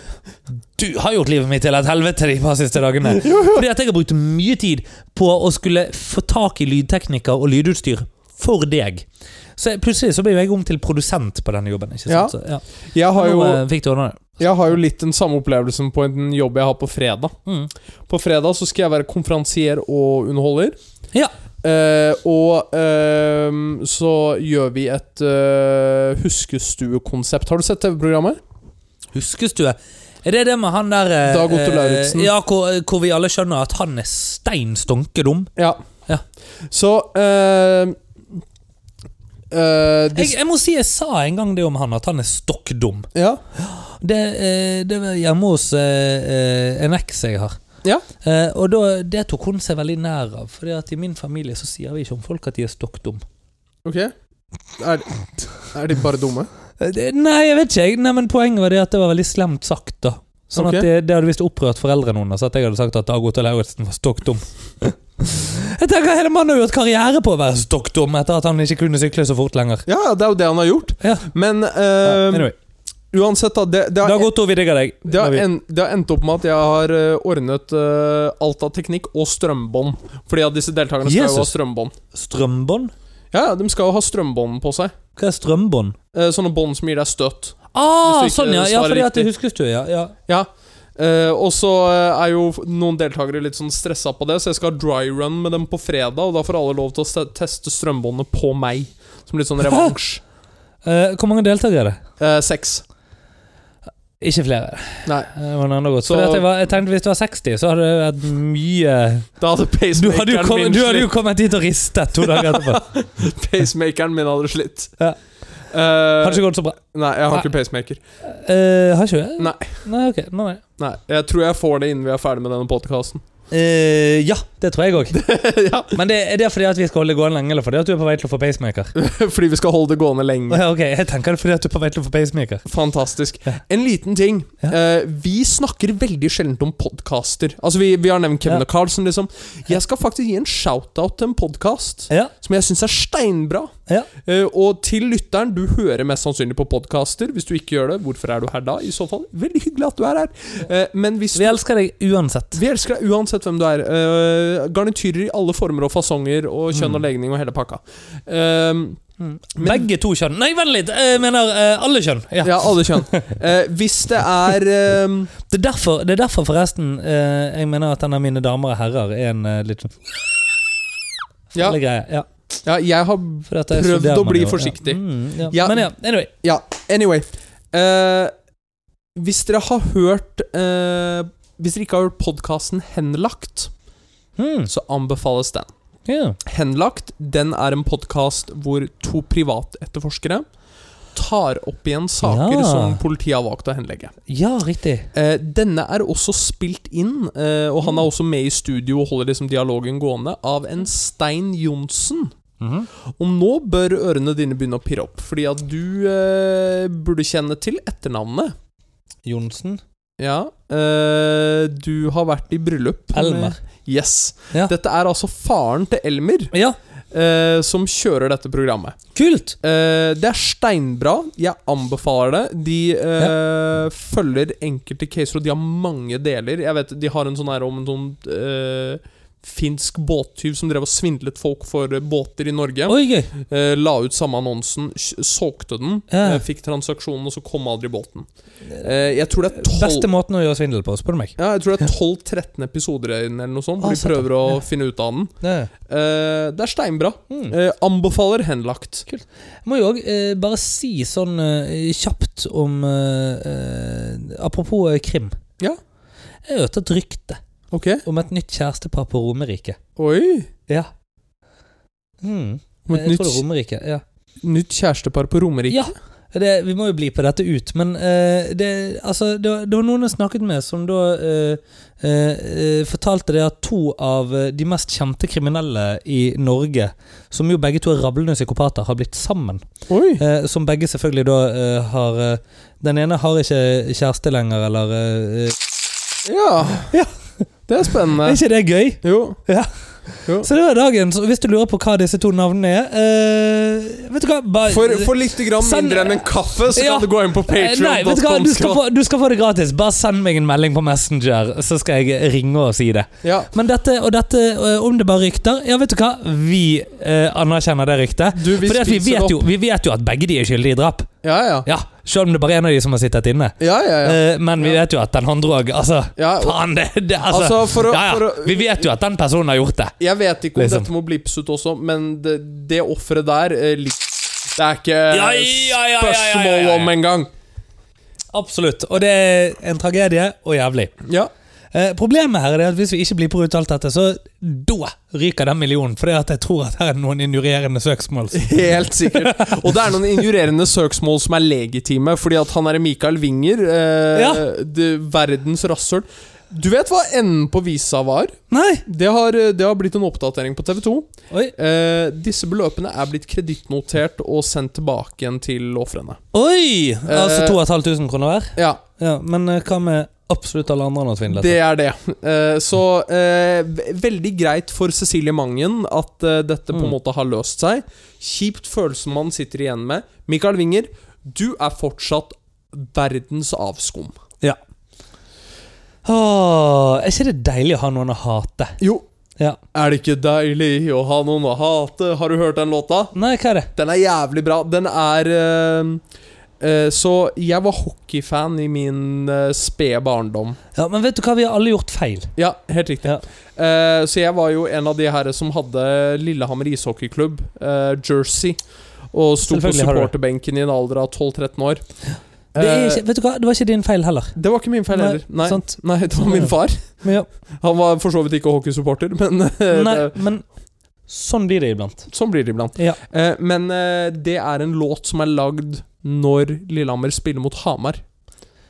Speaker 2: Du har gjort livet mitt til et helvete de par siste dagene. Fordi at jeg har brukt mye tid på å skulle få tak i lydteknikker og lydutstyr for deg. Så jeg- plutselig så ble jo jeg om til produsent på denne jobben. ikke sant?
Speaker 1: Ja.
Speaker 2: Så, ja.
Speaker 1: Jeg har,
Speaker 2: Nå
Speaker 1: jo,
Speaker 2: eh, fikk du ordna det.
Speaker 1: jeg har jo litt den samme opplevelsen på en jobb jeg har på fredag.
Speaker 2: Mm.
Speaker 1: På fredag så skal jeg være konferansier og underholder.
Speaker 2: Ja.
Speaker 1: Eh, og ehm, så gjør vi et eh, huskestuekonsept. Har du sett TV-programmet?
Speaker 2: Huskestue. eh, Er det det med han der eh,
Speaker 1: Dag Otto
Speaker 2: eh,
Speaker 1: Lauritzen.
Speaker 2: Ja, hvor, hvor vi alle skjønner at han er stein stonke dum.
Speaker 1: Ja.
Speaker 2: Ja.
Speaker 1: Så ehm, eh, de,
Speaker 2: Jeg, jeg må si jeg sa en gang det om han, at han er stokk dum.
Speaker 1: Ja.
Speaker 2: Det, eh, det var hjemme hos eh, eh, en eks jeg har.
Speaker 1: Ja.
Speaker 2: Eh, og da, det tok hun seg veldig nær av. Fordi at i min familie så sier vi ikke om folk at de er stokk dum.
Speaker 1: Ok. Er, er de bare dumme?
Speaker 2: Eh, det- Nei, jeg vet ikke. jeg. Nei, men Poenget var det at det var veldig slemt sagt. da Sånn
Speaker 1: Ok.
Speaker 2: at det, det hadde visst opprørt foreldrene hennes at jeg hadde sagt at Dag Otto Lauritzen var stokk dum. jeg tenker Hele mannen har gjort karriere på å være stokk dum etter at han ikke kunne sykle så fort lenger.
Speaker 1: Ja, det er jo det han har gjort.
Speaker 2: Ja.
Speaker 1: Men eh,
Speaker 2: Ja, anyway.
Speaker 1: uansett, da. Det, det,
Speaker 2: Dag
Speaker 1: har,
Speaker 2: Otto, vi digger deg.
Speaker 1: det, har
Speaker 2: vi.
Speaker 1: en, det har endt opp med at jeg har eh, ordnet eh, alt av teknikk og strømbånd. Fordi at disse deltakerne skal jo ha
Speaker 2: Jesus.
Speaker 1: strømbånd.
Speaker 2: Strømbånd?
Speaker 1: Ja, ja, de skal jo ha strømbånd på seg.
Speaker 2: Hva er strømbånd?
Speaker 1: Eh, sånne bånd som gir deg støt.
Speaker 2: Ah,
Speaker 1: Hvis du ikke
Speaker 2: sånn, ja. ja
Speaker 1: svarer
Speaker 2: fordi at det
Speaker 1: riktig.
Speaker 2: huskes du, ja. ja.
Speaker 1: Ja. Eh, og så eh, er jo f- noen deltakere litt sånn stressa på det, så jeg skal ha dry run med dem på fredag, og da får alle lov til å ste- teste strømbåndet på meg. Som litt sånn revansj.
Speaker 2: Eh, hvor mange deltakere er det?
Speaker 1: Eh, Seks.
Speaker 2: Ikke flere. Eh,
Speaker 1: Nei.
Speaker 2: Det var noe annet godt.
Speaker 1: Så-
Speaker 2: Fordi at jeg, var, jeg tenkte Hvis du var 60, så hadde det vært mye
Speaker 1: Da hadde
Speaker 2: Du hadde jo
Speaker 1: pacemakeren
Speaker 2: kommet,
Speaker 1: min
Speaker 2: du hadde
Speaker 1: slitt.
Speaker 2: jo kommet dit og ristet to dager etterpå.
Speaker 1: Pacemakeren min hadde slitt.
Speaker 2: Ja.
Speaker 1: Eh,
Speaker 2: Har det ikke gått så bra.
Speaker 1: Nei, jeg har
Speaker 2: Nei.
Speaker 1: ikke pacemaker.
Speaker 2: Eh, har ikke du det?
Speaker 1: Nei.
Speaker 2: Nei, ok. Nei, nei.
Speaker 1: Nei, Jeg tror jeg får det innen vi er ferdig med denne podkasten.
Speaker 2: Eh, ja, det tror jeg òg.
Speaker 1: ja,
Speaker 2: Men det, er det fordi at vi skal holde det gående lenge, eller fordi at du er på vei til å få pacemaker?
Speaker 1: fordi vi skal holde det gående lenge.
Speaker 2: Ja, ok, Jeg tenker det er fordi at du er på vei til å få pacemaker.
Speaker 1: Fantastisk. En liten ting.
Speaker 2: Ja.
Speaker 1: Eh, vi snakker veldig sjelden om podkaster. Altså, vi, vi har nevnt Kevin
Speaker 2: Ja.
Speaker 1: og Carlsen, liksom. Jeg skal faktisk gi en shout-out til en podkast
Speaker 2: Ja,
Speaker 1: som jeg syns er steinbra.
Speaker 2: Ja.
Speaker 1: Eh, og til lytteren, du hører mest sannsynlig på podkaster. Hvis du ikke gjør det, hvorfor er du her da? I så fall, veldig hyggelig at du er her. Eh, men hvis
Speaker 2: Vi elsker deg uansett.
Speaker 1: Vi elsker deg uansett hvem du er. Eh, garnityrer i alle former og fasonger og
Speaker 2: Mm.
Speaker 1: kjønn og legning og hele pakka. Ehm,
Speaker 2: Begge to kjønn. Nei, vent litt! Jeg mener eh, alle kjønn. Ja.
Speaker 1: ja, alle kjønn. Eh, hvis det er ehm,
Speaker 2: Det, er derfor, det er derfor, forresten, eh, jeg mener at denne Mine damer og herrer er en eh, litt sånn
Speaker 1: ja,
Speaker 2: fæle greie. Ja.
Speaker 1: ja, jeg har
Speaker 2: For at jeg
Speaker 1: Prøvd
Speaker 2: studerer
Speaker 1: å bli
Speaker 2: meg jo.
Speaker 1: forsiktig.
Speaker 2: Ja. Mm, ja.
Speaker 1: Ja.
Speaker 2: Men ja, anyway.
Speaker 1: Ja, anyway. Eh, hvis dere har hørt eh, Hvis dere ikke har hørt podkasten Henlagt,
Speaker 2: Mm,
Speaker 1: så anbefales den.
Speaker 2: ja.
Speaker 1: Henlagt den er en podkast hvor to privatetterforskere tar opp igjen saker
Speaker 2: Ja.
Speaker 1: som politiet har valgt å henlegge.
Speaker 2: ja, riktig.
Speaker 1: Eh, denne er også spilt inn, eh, og han er også med i studio og holder liksom dialogen gående, av en Stein Johnsen.
Speaker 2: Mhm.
Speaker 1: Og nå bør ørene dine begynne å pirre opp, fordi at du eh, burde kjenne til etternavnet.
Speaker 2: Johnsen.
Speaker 1: Ja, eh, du har vært i bryllup. med-
Speaker 2: Elmer.
Speaker 1: Yes.
Speaker 2: Ja.
Speaker 1: Dette er altså faren til Elmer
Speaker 2: Ja,
Speaker 1: eh, som kjører dette programmet.
Speaker 2: kult!
Speaker 1: Eh, det er steinbra. Jeg anbefaler det. De eh, følger enkelte caser, og de har mange deler. Jeg vet, De har en sånn her om en sånn eh, finsk båttyv som drev og svindlet folk for eh, båter i Norge.
Speaker 2: Oi, gøy.
Speaker 1: Eh, la ut samme annonsen, s- solgte den,
Speaker 2: Ja.
Speaker 1: eh, fikk transaksjonen, og så kom aldri båten. Eh, jeg tror det er
Speaker 2: Beste
Speaker 1: 12
Speaker 2: måten å gjøre svindel på, spør du meg.
Speaker 1: ja, jeg tror det er 12-13 episoder inn, eller noe sånt, hvor
Speaker 2: Ah,
Speaker 1: de
Speaker 2: satan.
Speaker 1: prøver å
Speaker 2: Ja.
Speaker 1: finne ut av den.
Speaker 2: Ja.
Speaker 1: Eh, det er steinbra.
Speaker 2: Mm.
Speaker 1: Eh, anbefaler henlagt.
Speaker 2: Jeg må jo òg eh, bare si sånn eh, kjapt om eh, eh, Apropos eh, krim.
Speaker 1: Ja.
Speaker 2: Jeg hørte et rykte
Speaker 1: Ok.
Speaker 2: om et nytt kjærestepar på Romerike.
Speaker 1: Oi.
Speaker 2: Ja. Mm.
Speaker 1: Om et
Speaker 2: Eh, Jeg tror
Speaker 1: nytt
Speaker 2: det er Romerike. Ja.
Speaker 1: Nytt kjærestepar på Romerike?
Speaker 2: ja. det, Vi må jo bli på dette ut, men eh, det, altså, det, var- det var noen jeg snakket med som da eh, eh, eh, fortalte det at to av eh, de mest kjente kriminelle i Norge, som jo begge to er rablende psykopater, har blitt sammen.
Speaker 1: Oi!
Speaker 2: Eh, som begge selvfølgelig da eh, har eh, Den ene har ikke kjæreste lenger, eller eh,
Speaker 1: Ja.
Speaker 2: Ja.
Speaker 1: Det er spennende.
Speaker 2: Er ikke det gøy?
Speaker 1: Jo.
Speaker 2: Ja.
Speaker 1: Jo.
Speaker 2: Så det var dagen. Så hvis du lurer på hva disse to navnene er eh, Vet du hva? Bare,
Speaker 1: For, for litt grann
Speaker 2: Send-
Speaker 1: mindre enn en kaffe, så
Speaker 2: Ja.
Speaker 1: kan du gå inn på
Speaker 2: Eh, Nei, vet du hva?
Speaker 1: patreon.com
Speaker 2: Du skal, få, du skal få det gratis. Bare send meg en melding på Messenger, så skal jeg ringe og si det.
Speaker 1: Ja.
Speaker 2: Men dette, og dette, eh, om det bare er rykter Ja, vet du hva? Vi eh, anerkjenner det ryktet.
Speaker 1: Du, vi
Speaker 2: For vi
Speaker 1: spiser
Speaker 2: vet,
Speaker 1: opp.
Speaker 2: jo, vi vet jo at begge de er skyldige i drap.
Speaker 1: Ja, ja.
Speaker 2: Ja, Selv om det bare er en av de som har sittet inne.
Speaker 1: Ja, ja, ja.
Speaker 2: Eh, men vi vet jo at den andre òg Altså,
Speaker 1: ja og,
Speaker 2: faen, det, det altså,
Speaker 1: altså, for å,
Speaker 2: ja, ja.
Speaker 1: for å
Speaker 2: Vi vet jo at den personen har gjort det.
Speaker 1: Jeg vet ikke om
Speaker 2: Liksom.
Speaker 1: dette må blippes ut også, men det, det offeret der eh, lik- Det er ikke
Speaker 2: Ja, ja, ja, ja, ja, ja, ja.
Speaker 1: Eh, spørsmål om engang.
Speaker 2: Absolutt. Og det er en tragedie, og jævlig.
Speaker 1: Ja.
Speaker 2: Eh, problemet her er det at hvis vi ikke blir på ut alt dette, så da ryker den millionen. For det at jeg tror at her er det noen injurierende søksmål.
Speaker 1: Helt sikkert. Og det er noen injurerende søksmål som er legitime, fordi at han er Mikael Winger, eh,
Speaker 2: Ja.
Speaker 1: det, verdens rasshøl. Du vet hva enden på visa var?
Speaker 2: Nei!
Speaker 1: Det har, eh, det har blitt en oppdatering på TV 2.
Speaker 2: Oi,
Speaker 1: Eh, disse beløpene er blitt kredittnotert og sendt tilbake igjen til ofrene.
Speaker 2: Oi! Altså
Speaker 1: Eh,
Speaker 2: 2500 kroner hver?
Speaker 1: Ja,
Speaker 2: Ja, men eh, hva med absolutt alle andre han har svindlet?
Speaker 1: det er det. Eh, så eh, ve- veldig greit for Cecilie Mangen at eh, dette på en
Speaker 2: Mm.
Speaker 1: måte har løst seg. Kjipt følelsen man sitter igjen med. Mikael Winger, du er fortsatt verdens avskum.
Speaker 2: Åh, er ikke det deilig å ha noen å hate?
Speaker 1: Jo,
Speaker 2: Ja.
Speaker 1: er det ikke deilig å ha noen å hate? Har du hørt den låta?
Speaker 2: Nei, hva er det?
Speaker 1: Den er jævlig bra. Den er eh, eh, Så jeg var hockeyfan i min eh, spede barndom.
Speaker 2: Ja, Men vet du hva, vi har alle gjort feil.
Speaker 1: Ja, helt riktig.
Speaker 2: Ja.
Speaker 1: Eh, så jeg var jo en av de her som hadde Lillehammer ishockeyklubb, eh, Jersey, og sto på
Speaker 2: Selvfølgelig har du det.
Speaker 1: supporterbenken i en alder av 12-13 år.
Speaker 2: Det, er
Speaker 1: Eh,
Speaker 2: ikke, vet du hva, det var ikke din feil heller.
Speaker 1: det var ikke min feil
Speaker 2: Nei,
Speaker 1: heller. Nei,
Speaker 2: sant. Sånn.
Speaker 1: Nei, det var min far.
Speaker 2: Men, ja.
Speaker 1: Han var for så vidt ikke hockeysupporter, men eh,
Speaker 2: Nei,
Speaker 1: det,
Speaker 2: men sånn blir det iblant.
Speaker 1: sånn blir det iblant.
Speaker 2: Ja.
Speaker 1: Eh, men eh, det er en låt som er lagd når Lillehammer spiller mot Hamar.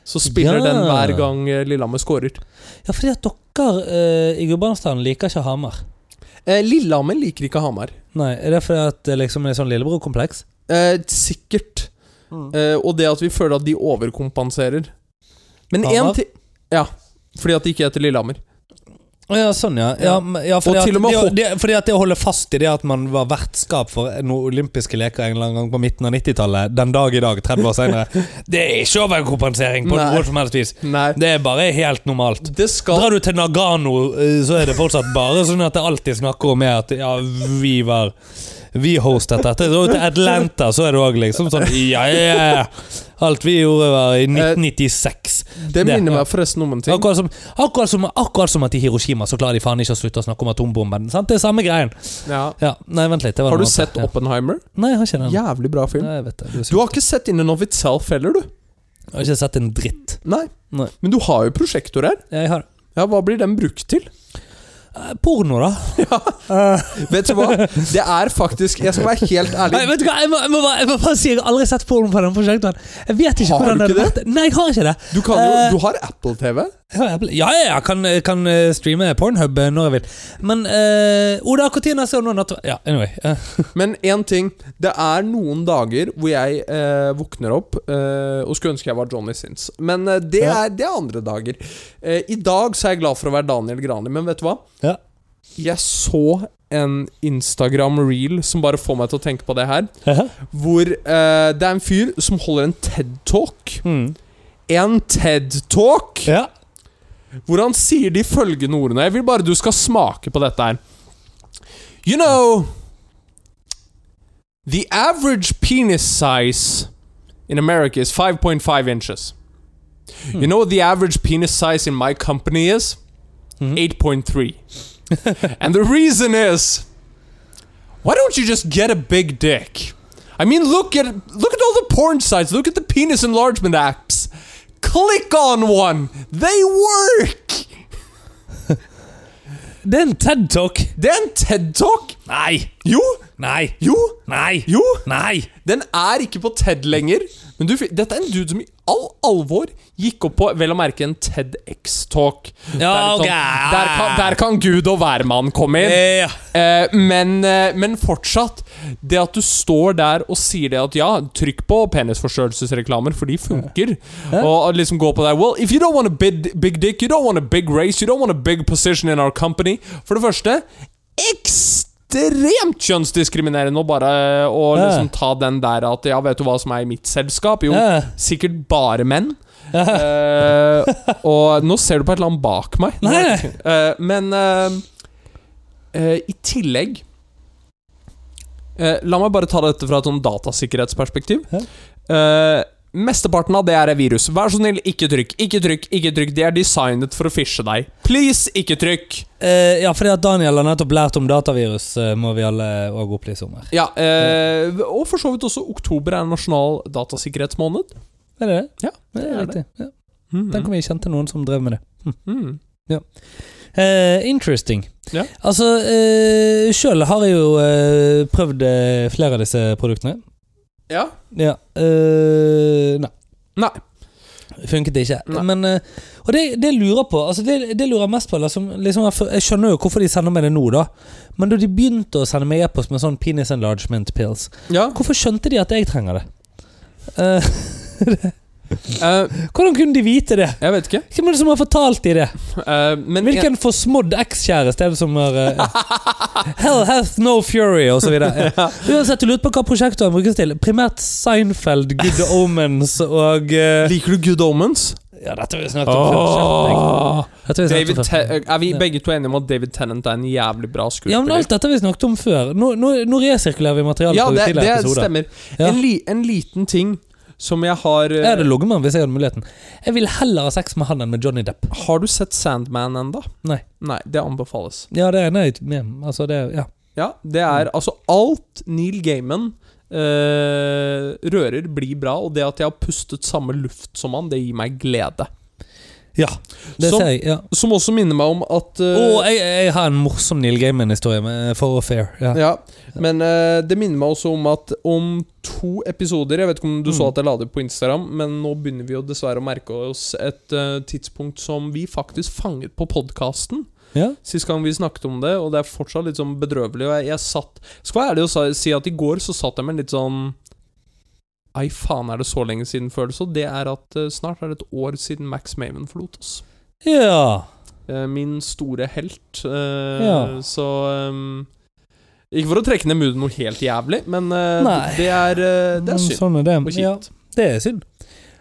Speaker 1: Så spiller
Speaker 2: Ja.
Speaker 1: den hver gang eh, Lillehammer scorer.
Speaker 2: Ja, fordi at dere eh, i Gudbrandsdalen liker ikke Hamar.
Speaker 1: Eh, Lillehammer liker ikke Hamar.
Speaker 2: Nei, Er det fordi at det liksom er sånn lillebror-kompleks?
Speaker 1: Eh, sikkert. Eh, og det at vi føler at de overkompenserer. Men
Speaker 2: Hamar?
Speaker 1: én ting Ja. Fordi at det ikke heter Lillehammer.
Speaker 2: Ja, sånn, ja. ja, men- ja fordi,
Speaker 1: Og
Speaker 2: at,
Speaker 1: til og med
Speaker 2: det,
Speaker 1: hopp-
Speaker 2: det, fordi at det å holde fast i det at man var vertskap for noen olympiske leker en eller annen gang på midten av 90-tallet, den dag i dag, 30 år senere, det er ikke overkompensering på
Speaker 1: Nei.
Speaker 2: noe som helst vis.
Speaker 1: Nei.
Speaker 2: Det er bare helt normalt.
Speaker 1: Det skal
Speaker 2: Drar du til Nagano, eh, så er det fortsatt bare sånn at det alltid snakker om er at ja, vi var Vi hostet dette. Drar du til Atlanta, så er det òg liksom sånn ja, ja, ja. Alt vi gjorde, var i
Speaker 1: Eh,
Speaker 2: 1996.
Speaker 1: Det
Speaker 2: det,
Speaker 1: minner
Speaker 2: ja.
Speaker 1: meg forresten om en ting.
Speaker 2: Akkurat som, akkurat, som, akkurat som at i Hiroshima så klarer de faen ikke å slutte å snakke om atombomben. Sant? Det er samme greien.
Speaker 1: Ja.
Speaker 2: Ja, nei, vent litt. Det var
Speaker 1: Har
Speaker 2: noe
Speaker 1: du
Speaker 2: annet.
Speaker 1: sett
Speaker 2: Ja.
Speaker 1: Oppenheimer?
Speaker 2: Nei, jeg har ikke den.
Speaker 1: Jævlig bra film.
Speaker 2: Nei, jeg vet det. Du, er
Speaker 1: Du
Speaker 2: syk.
Speaker 1: har ikke sett In and of itself heller, du.
Speaker 2: jeg har ikke sett en dritt.
Speaker 1: Nei.
Speaker 2: Nei.
Speaker 1: Men du har jo prosjektor her.
Speaker 2: Jeg har
Speaker 1: Ja, Hva blir den brukt til?
Speaker 2: Eh, Porno, da.
Speaker 1: Vet du hva? Det er faktisk Jeg skal være helt ærlig.
Speaker 2: Nei, vet du hva, jeg må, jeg, må bare, jeg må bare si jeg har aldri sett porno på den prosjektoren. Jeg vet ikke
Speaker 1: Har
Speaker 2: hvordan
Speaker 1: du
Speaker 2: den
Speaker 1: ikke
Speaker 2: hadde vært. Nei, jeg har ikke det.
Speaker 1: Du, kan jo,
Speaker 2: Eh.
Speaker 1: du har Apple TV.
Speaker 2: Jeg har Apple- Ja, ja, jeg kan, jeg kan eh, streame Pornhub eh, når jeg vil. Men uh, Oda Cortina ser noen natt... Ja, anyway. eh,
Speaker 1: Men én ting. Det er noen dager hvor jeg eh, våkner opp eh, og skulle ønske jeg var Johnny Sins. Men eh, det,
Speaker 2: Ja.
Speaker 1: er, det er andre dager. Eh, I dag så er jeg glad for å være Daniel Grani, men vet du hva?
Speaker 2: Ja.
Speaker 1: Jeg så en Instagram-reel som bare får meg til å tenke på det her.
Speaker 2: ja.
Speaker 1: Hvor eh, det er en fyr som holder en TED-talk.
Speaker 2: Mm.
Speaker 1: En TED-talk!
Speaker 2: ja.
Speaker 1: Hvor han sier de følgende ordene. Jeg vil bare du skal smake på dette her. You know The average penis size in America is 5.5 inches. You know what the average penis size in my company is? 8.3. and the reason is why don't you just get a big dick? I mean, look at look at all the porn sites. Look at the penis enlargement apps. Click on one. They work.
Speaker 2: Det er en TED Talk!
Speaker 1: Det er en TED Talk!
Speaker 2: Nei!
Speaker 1: Jo!
Speaker 2: Nei!
Speaker 1: Jo!
Speaker 2: Nei!
Speaker 1: Jo!
Speaker 2: Nei!
Speaker 1: Den er ikke på TED lenger. Men du, fi- dette er en dude som i all alvor gikk opp på vel å merke en E TEDX-talk.
Speaker 2: Ja, ok.
Speaker 1: der, kan- der kan Gud og hvermann komme inn.
Speaker 2: Eh,
Speaker 1: Eh, men, eh, men fortsatt, det at du står der og sier det at ja, trykk på penisforstørrelsesreklamer, for de funker. Og at liksom gå på der Well, if you don't want a big, big dick, you don't want a big race, you don't want a big position in our company. For det første, ekstremt kjønnsdiskriminerende å bare å
Speaker 2: Ja.
Speaker 1: liksom ta den der at ja, vet du hva som er i mitt selskap? Jo,
Speaker 2: Ja.
Speaker 1: sikkert bare menn. Eh, og nå ser du på et eller annet bak meg.
Speaker 2: Nei, nei.
Speaker 1: Eh, men eh, eh, i tillegg eh, La meg bare ta dette fra et sånn datasikkerhetsperspektiv.
Speaker 2: Ja.
Speaker 1: Eh, mesteparten av det er virus. Vær så snill, ikke trykk. Ikke trykk, ikke trykk. De er designet for å fishe deg. Please, ikke trykk!
Speaker 2: eh, ja, fordi at Daniel har nettopp lært om datavirus, eh, må vi alle òg opplyse om her.
Speaker 1: Ja, eh, Og for så vidt også oktober er en nasjonal datasikkerhetsmåned.
Speaker 2: Er det det?
Speaker 1: Ja,
Speaker 2: det
Speaker 1: er
Speaker 2: er
Speaker 1: det.
Speaker 2: riktig. Ja.
Speaker 1: Mhm.
Speaker 2: Tenk om vi kjente noen som drev med det.
Speaker 1: Mm.
Speaker 2: Eh, interesting.
Speaker 1: Ja.
Speaker 2: Altså, uh, sjøl har jeg jo eh, prøvd eh, flere av disse produktene.
Speaker 1: Ja.
Speaker 2: Ja. eh, nei.
Speaker 1: Nei.
Speaker 2: Funket ikke.
Speaker 1: Nei.
Speaker 2: Men, eh, og det, det jeg lurer på altså det, det lurer jeg mest på liksom, liksom, jeg, jeg skjønner jo hvorfor de sender meg det nå, da. Men da de begynte å sende meg e-post med sånn penis enlargement pills,
Speaker 1: Ja.
Speaker 2: hvorfor skjønte de at jeg trenger det? Eh,
Speaker 1: eh,
Speaker 2: hvordan kunne de vite det?
Speaker 1: jeg vet ikke.
Speaker 2: Hvem er det som har fortalt de det?
Speaker 1: Eh, men
Speaker 2: Hvilken forsmådd ekskjæreste er det som har eh, Hell hath no fury, og så videre. Ja. Uansett, du lurer på hva prosjektet brukes til. Primært Seinfeld, Good Omens og eh,
Speaker 1: Liker du Good Omens?
Speaker 2: Ja, dette har vi snakket om før. Kjeft deg. Dette har vi snakket
Speaker 1: David
Speaker 2: om før.
Speaker 1: Te er vi
Speaker 2: Ja.
Speaker 1: begge to enige om at David Tennant er en jævlig bra skuespiller?
Speaker 2: Ja, men alt dette har vi snakket om før. Nå, nå, nå resirkulerer vi materialet
Speaker 1: Ja,
Speaker 2: fra
Speaker 1: det,
Speaker 2: tidligere
Speaker 1: det
Speaker 2: episoder.
Speaker 1: stemmer.
Speaker 2: Ja.
Speaker 1: En, li en liten ting som jeg har eh,
Speaker 2: Jeg hadde ligget med han hvis jeg hadde muligheten. Jeg vil heller ha sex med han enn med Johnny Depp.
Speaker 1: eh, Har du sett Sandman enda?
Speaker 2: Nei.
Speaker 1: Nei, det anbefales.
Speaker 2: Ja, det er nei, men, altså det, ja.
Speaker 1: Ja, det er altså alt Neil Gaiman eh, rører, blir bra, og det at jeg har pustet samme luft som han, det gir meg glede.
Speaker 2: ja. Det
Speaker 1: Som-
Speaker 2: ser jeg. ja
Speaker 1: Som også minner meg om at eh,
Speaker 2: Og jeg, jeg har en morsom Neil Gaiman-historie med eh, For og Fair. Ja.
Speaker 1: Ja, men eh, det minner meg også om at om to episoder Jeg vet ikke om du så
Speaker 2: Mm.
Speaker 1: at jeg la det på Instagram, men nå begynner vi jo dessverre å merke oss et eh, tidspunkt som vi faktisk fanget på podkasten.
Speaker 2: Ja.
Speaker 1: Sist gang vi snakket om det, og det er fortsatt litt sånn bedrøvelig. Og jeg, jeg satt Skal være ærlig og sa- si at i går så satt jeg med en litt sånn Ei, faen, er det så lenge siden-følelse? Og det er at eh, snart er det et år siden Max Maven forlot oss.
Speaker 2: ja.
Speaker 1: Eh, Min store helt. eh,
Speaker 2: Ja.
Speaker 1: Så ehm, Ikke for å trekke ned moodet noe helt jævlig, men eh,
Speaker 2: Nei.
Speaker 1: det er, eh, det er
Speaker 2: Men
Speaker 1: synd.
Speaker 2: Sånn er det.
Speaker 1: Og
Speaker 2: Ja,
Speaker 1: kjipt.
Speaker 2: det er synd.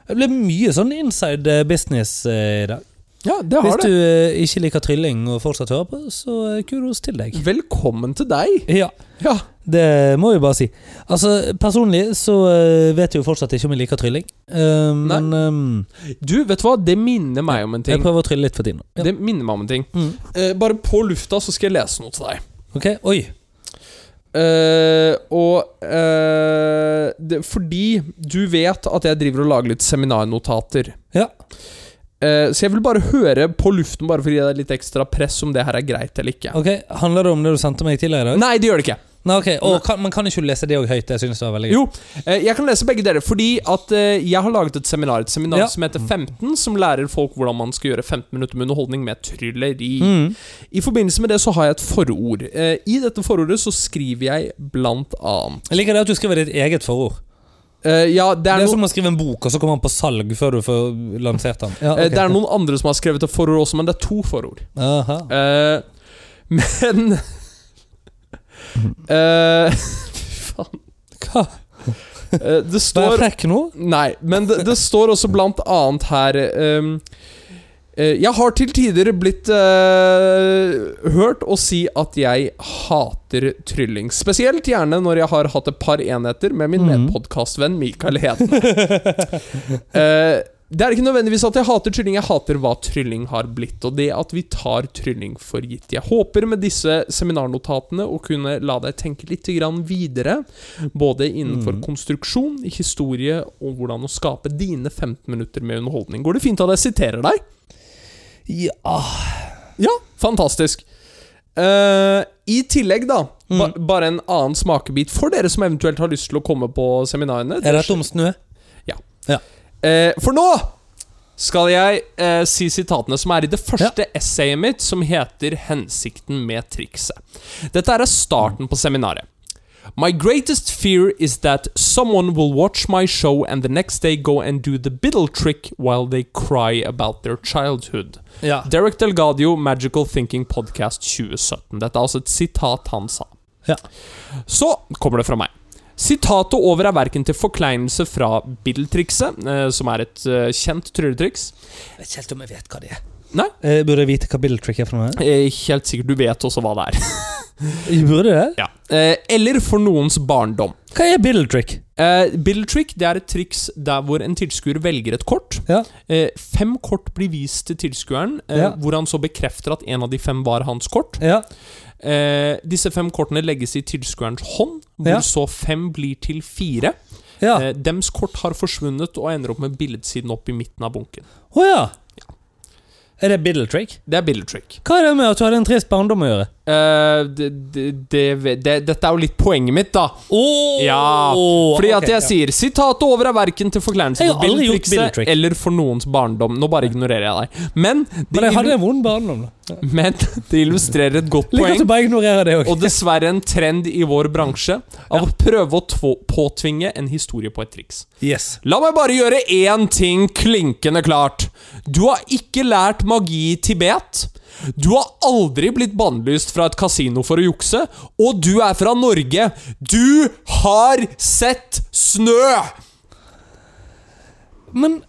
Speaker 2: Det ble mye sånn inside eh, business eh, i dag.
Speaker 1: Ja, det
Speaker 2: Hvis
Speaker 1: har det.
Speaker 2: du eh, ikke liker trylling og fortsatt hører på, så eh, kudos til deg.
Speaker 1: Mm. Velkommen til deg.
Speaker 2: Ja,
Speaker 1: Ja.
Speaker 2: det må vi bare si. Altså, personlig så eh, vet jeg jo fortsatt ikke om jeg liker trylling. Eh, men eh,
Speaker 1: Du, vet du hva? Det minner meg om en
Speaker 2: jeg
Speaker 1: ting.
Speaker 2: prøver å trylle litt for tiden. Ja.
Speaker 1: Det minner meg om en ting.
Speaker 2: Mm.
Speaker 1: Eh, bare på lufta så skal jeg lese noe til deg.
Speaker 2: Ok, oi.
Speaker 1: Eh, og eh, det, Fordi du vet at jeg driver og lager litt seminarnotater.
Speaker 2: Ja.
Speaker 1: Eh, så jeg vil bare høre på luften, bare for å gi deg litt ekstra press, om det her er greit eller ikke.
Speaker 2: ok. Handler det om det du sendte meg tidligere i dag?
Speaker 1: Nei, det gjør det ikke.
Speaker 2: Nei, ok. Og kan, man kan ikke du lese det òg høyt. Jeg synes det var veldig gøy.
Speaker 1: Jo, eh, jeg kan lese begge deler. Fordi at eh, jeg har laget et seminar Et seminar
Speaker 2: Ja. Mm.
Speaker 1: som heter 15, som lærer folk hvordan man skal gjøre 15 minutter med underholdning med trylleri.
Speaker 2: Mm.
Speaker 1: I forbindelse med det så har jeg et forord. Eh, I dette forordet så skriver jeg blant annet
Speaker 2: Jeg liker det at du skriver ditt eget forord.
Speaker 1: Eh, Ja, det
Speaker 2: Det
Speaker 1: er,
Speaker 2: er
Speaker 1: noen-
Speaker 2: som å skrive en bok, og så kommer han på salg før du får lansert den. Ja,
Speaker 1: eh,
Speaker 2: ok.
Speaker 1: det er noen andre som har skrevet et forord også, men det er to forord.
Speaker 2: Aha.
Speaker 1: Eh, men eh, Fy faen.
Speaker 2: Hva?
Speaker 1: Eh, det
Speaker 2: Var jeg
Speaker 1: står
Speaker 2: frekk nå?
Speaker 1: Nei, men det, det står også blant annet her ehm, eh, Jeg har til tider blitt eh, hørt å si at jeg hater trylling. Spesielt gjerne når jeg har hatt et par enheter med min
Speaker 2: Mhm.
Speaker 1: medpodkastvenn Mikael Hedene. Eh, det er ikke nødvendigvis at jeg hater trylling, jeg hater hva trylling har blitt, og det at vi tar trylling for gitt. Jeg håper med disse seminarnotatene å kunne la deg tenke litt grann videre, både innenfor
Speaker 2: Mhm.
Speaker 1: konstruksjon, historie og hvordan å skape dine 15 minutter med underholdning. Går det fint at jeg siterer deg?
Speaker 2: Ja.
Speaker 1: Ja, fantastisk. Eh, I tillegg, da, ba,
Speaker 2: Mm.
Speaker 1: bare en annen smakebit for dere som eventuelt har lyst til å komme på seminarene.
Speaker 2: Er dette om snø?
Speaker 1: Eh, for nå skal jeg eh, si sitatene som er i det første essayet mitt, som heter 'Hensikten med trikset'. Dette er starten på seminaret. My greatest fear is that someone will watch my show and the next day go and do the biddle trick while they cry about their childhood.
Speaker 2: Ja.
Speaker 1: Derek Delgadio, Magical Thinking Podcast 2017. Dette er altså et sitat han sa.
Speaker 2: Ja.
Speaker 1: Så kommer det fra meg. Sitatet over er verken til forkleinelse fra biddeltrikset, eh, som er et eh, kjent trylletriks.
Speaker 2: Jeg vet ikke helt om jeg vet hva det er.
Speaker 1: Nei.
Speaker 2: Eh, burde jeg vite hva biddle trick er for noe?
Speaker 1: Eh, helt sikkert du vet også hva det er.
Speaker 2: Jeg burde det?
Speaker 1: ja. eh, eller for noens barndom.
Speaker 2: Hva er biddle trick?
Speaker 1: Eh, Biddle trick det er et triks der hvor en tilskuer velger et kort.
Speaker 2: Ja.
Speaker 1: Eh, fem kort blir vist til tilskueren, eh,
Speaker 2: Ja.
Speaker 1: hvor han så bekrefter at en av de fem var hans kort.
Speaker 2: Ja.
Speaker 1: Eh, disse fem kortene legges i tilskuerens hånd, hvor
Speaker 2: Ja.
Speaker 1: så fem blir til fire.
Speaker 2: Ja.
Speaker 1: Eh, dems kort har forsvunnet og ender opp med billedsiden opp i midten av bunken.
Speaker 2: Å ja. Er det biddle trick?
Speaker 1: Det er billedtrick.
Speaker 2: Hva er det med at du hadde en trist barndom å gjøre?
Speaker 1: Eh, det, det, det, det, dette er jo litt poenget mitt, da.
Speaker 2: Oh,
Speaker 1: Ja, Fordi at jeg sier Sitatet over er verken til forkleinelse
Speaker 2: Jeg
Speaker 1: for
Speaker 2: har aldri gjort
Speaker 1: billedtrikset
Speaker 2: billedtrick.
Speaker 1: eller for noens barndom. Nå bare ignorerer jeg deg. Men det,
Speaker 2: Men jeg hadde
Speaker 1: illu
Speaker 2: en vond barndom. da.
Speaker 1: men det illustrerer et godt
Speaker 2: Liker
Speaker 1: poeng.
Speaker 2: at du bare ignorerer det òg.
Speaker 1: Og dessverre en trend i vår bransje av å prøve å tvo- påtvinge en historie på et triks.
Speaker 2: Yes.
Speaker 1: La meg bare gjøre én ting klinkende klart. Du har ikke lært magi i Tibet. Du har aldri blitt bannlyst fra et kasino for å jukse. Og du er fra Norge. Du har sett snø!
Speaker 2: Men